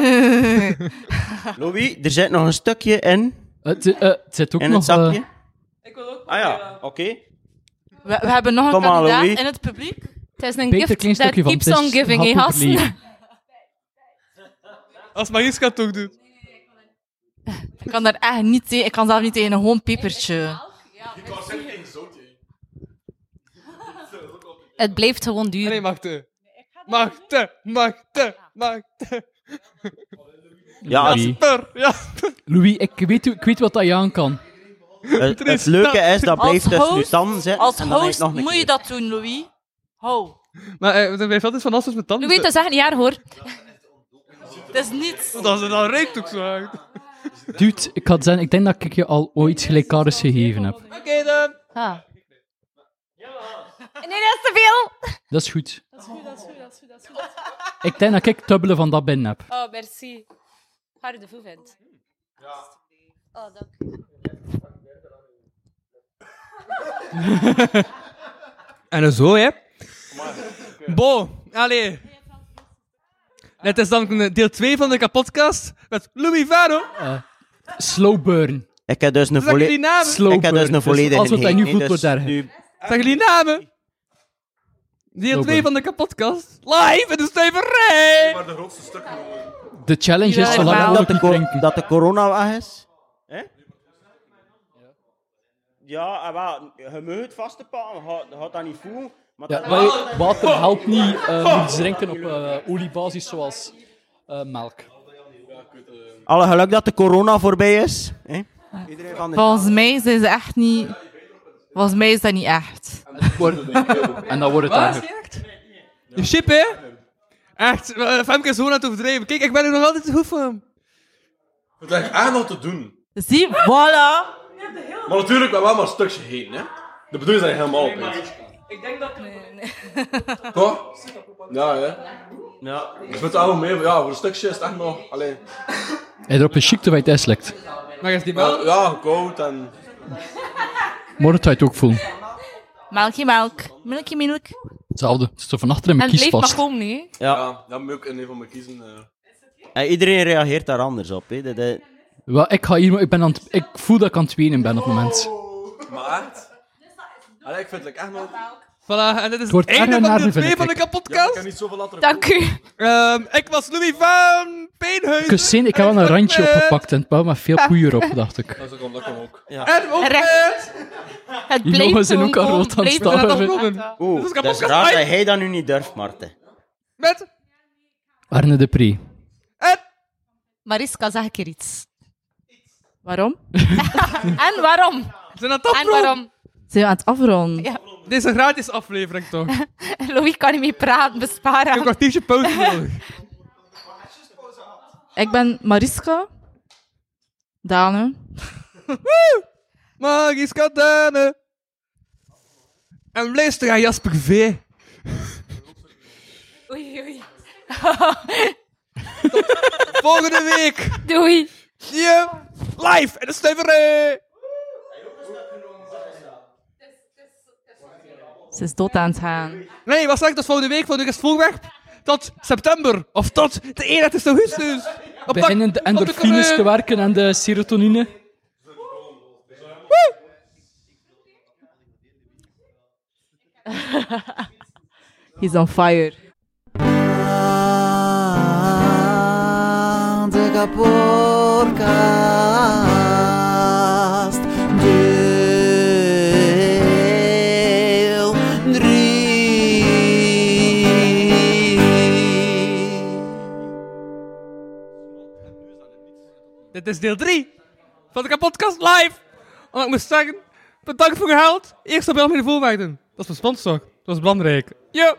S16: Louis, er zit nog een stukje in.
S5: Het, zit ook
S16: in
S5: nog,
S16: het sapje.
S5: eh,
S16: Ik wil ook. Ah ja, oké.
S4: we, we hebben nog een
S16: Kom aan,
S4: kandidaat
S16: Louis.
S4: in het publiek.
S3: Het is een
S5: Peter, klein
S3: gift that
S5: stukje van
S3: keeps
S5: het
S3: on
S5: is
S3: giving, hé,
S5: hapelijk
S3: gasten.
S5: leven.
S2: Als magiska het toch doet.
S4: Ik kan daar echt niet tegen. Ik kan zelf niet tegen een gewoon pepertje.
S3: Het blijft gewoon duur.
S2: Nee, Machte. Machte, Machte, Machte.
S16: Ja, het-
S2: Jasper, ja.
S5: Louis, ik weet, ik weet wat dat je aan kan.
S16: het, het leuke is dat
S4: Als
S16: blijft tussen je
S4: host-
S16: tanden zitten.
S4: Als
S16: en dan heb je
S4: host
S16: het nog een
S4: moet je
S16: keer.
S4: dat doen, Louis. Hou.
S2: Maar eh, er blijft altijd van alles met tanden.
S3: Louis, dat is echt een jaar, hoor.
S4: Het is niets.
S2: Dat, dat ruikt ook zo uit.
S5: Dude, ik had zeggen, ik denk dat ik je al ooit gelijkaardigs gegeven heb.
S2: Oké dan.
S3: Nee, dat is te veel.
S5: Dat is goed.
S3: Dat is goed, dat is goed, dat is goed. Dat is goed.
S5: Ik denk dat ik dubbele van dat binnen heb.
S3: Oh, merci. Ga je de voet vindt. Oh, dank
S2: En zo, hè. Bo, allee. Dit is dan deel 2 van de kapotcast met Louis Vano.
S5: Slow burn.
S16: Ik heb dus een
S2: Zeg jullie
S16: volledige...
S2: namen?
S5: Slow
S16: Ik heb dus
S5: burn.
S16: een volledige...
S5: Dus als wat hij
S16: heen,
S5: nu
S16: hè,
S5: voelt,
S16: dus
S5: wordt daar-
S16: nu-
S2: Zeg jullie namen? Deel 2 van de kapotcast. Live in de stuiverij.
S7: Maar de grootste stukken gewoon.
S5: De challenge is zo lang
S16: Ja, dat,
S5: mogelijk
S16: de
S5: niet
S16: cor-
S5: drinken.
S16: dat de corona weg is. Hè? Ja, eh, wel, je moet het vast te pakken, je gaat- je gaat dat niet voelen. Maar
S5: Ja,
S16: dan-
S5: wa- water helpt niet eh, moet je drinken op eh, oliebasis zoals eh, melk.
S16: Alle geluk dat de corona voorbij is. Hè? Iedereen van de-
S4: Volgens mij zijn ze echt niet... Volgens mij is dat niet echt.
S5: En dan wordt het
S2: Wat?
S5: erger.
S2: Je chip, hè? Echt, eh, Femke is gewoon aan het overdreven. Kijk, ik ben er nog altijd te goed voor hem.
S7: Het lijkt aan om te doen.
S4: Zie, voilà.
S7: Maar natuurlijk, we hebben wel maar een stukje heen, hè. De bedoeling is dat je helemaal op bent.
S4: Ik denk dat... Nee, nee.
S7: Toch? Ja, hè.
S16: Ja.
S7: Dus met de oude mee, ja, voor een stukje is het echt nog... Allee.
S5: Hij erop een chic bij het slikt.
S2: Maar is die
S7: wel? Ja, koud en...
S5: Morgen zou je het ook voelen.
S4: Melkje melk. Melkje melk.
S5: Hetzelfde. Het zit zo van achter in mijn kies vast.
S4: komen, nee.
S16: Ja.
S7: Ja, dat moet ik in een van mijn kiezen. eh.
S16: En iedereen reageert daar anders op. Hè? Dat- dat-
S5: Wel, ik, ga hier, ik, ben aan het- ik voel dat ik aan het wenen ben op het moment.
S7: Maar echt? Allee, ik vind het echt nog...
S2: Voilà, en dit is
S5: Het
S2: het,
S5: wordt erger
S2: einde
S5: en
S2: van deel
S5: erger,
S2: 2
S5: vind
S2: van de
S5: ik.
S7: Ja, ik
S2: kapotcast.
S7: kan niet zoveel later...
S3: Dank u.
S2: Ehm, ik was Louis van Peenhuizen.
S5: Kussin, ik heb wel een randje opgepakt en het bouw met veel poeier op, dacht ik.
S7: Dat komt, dat komt ook.
S2: En ook
S3: Recht. Het
S5: Die jongens zijn ook al rood aan het staan.
S2: is
S16: Oeh, dat is
S2: kapotcast
S16: raar dat
S2: live.
S16: hij dat nu niet durft, Marten.
S2: Met
S5: Arne de Pre.
S3: Mariska, zeg een keer iets.
S4: Waarom?
S3: En waarom?
S2: Zijn dat toch
S3: En waarom?
S4: Zijn we aan het afronden?
S3: Ja.
S2: Deze gratis aflevering toch? Ik
S3: Louis kan niet meer praten, besparen.
S2: heb een kwartiertje pauze nodig.
S4: Ik ben Mariska. Dane.
S2: Magisch katane. En luister aan Jasper V.
S3: Oei, oei.
S2: Volgende week.
S3: Doei.
S2: Zie je live in de stuiverij.
S4: Ze is dood aan het gaan.
S2: Nee, wat zeg ik? Dat is volgende week. Volgende week is het voorwerp. Tot september. Of tot de 31 augustus. Op dat-
S5: Beginnen de
S2: op de
S5: endorfines
S2: coureur.
S5: te werken en de serotonine.
S4: He's on fire.
S17: de kapotkast. Deel drie.
S2: Dit is deel 3 van de podcast live. Omdat ik moest zeggen, bedankt voor je geld. Eerst op België de voorwaarden. Dat is mijn sponsor. Dat is belangrijk. Ja.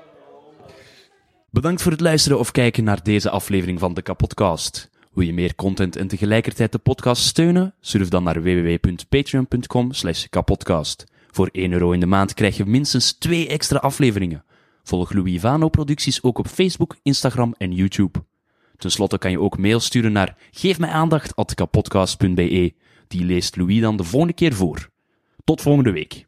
S18: Bedankt voor het luisteren of kijken naar deze aflevering van de Kapodcast. Wil je meer content en tegelijkertijd de podcast steunen? Surf dan naar www.patreon.com slash kapodcast. Voor 1 euro in de maand krijg je minstens 2 extra afleveringen. Volg Louis Vano producties ook op Facebook, Instagram en YouTube. Ten slotte kan je ook mail sturen naar geefmijaandacht.kapodcast.be. Die leest Louis dan de volgende keer voor. Tot volgende week.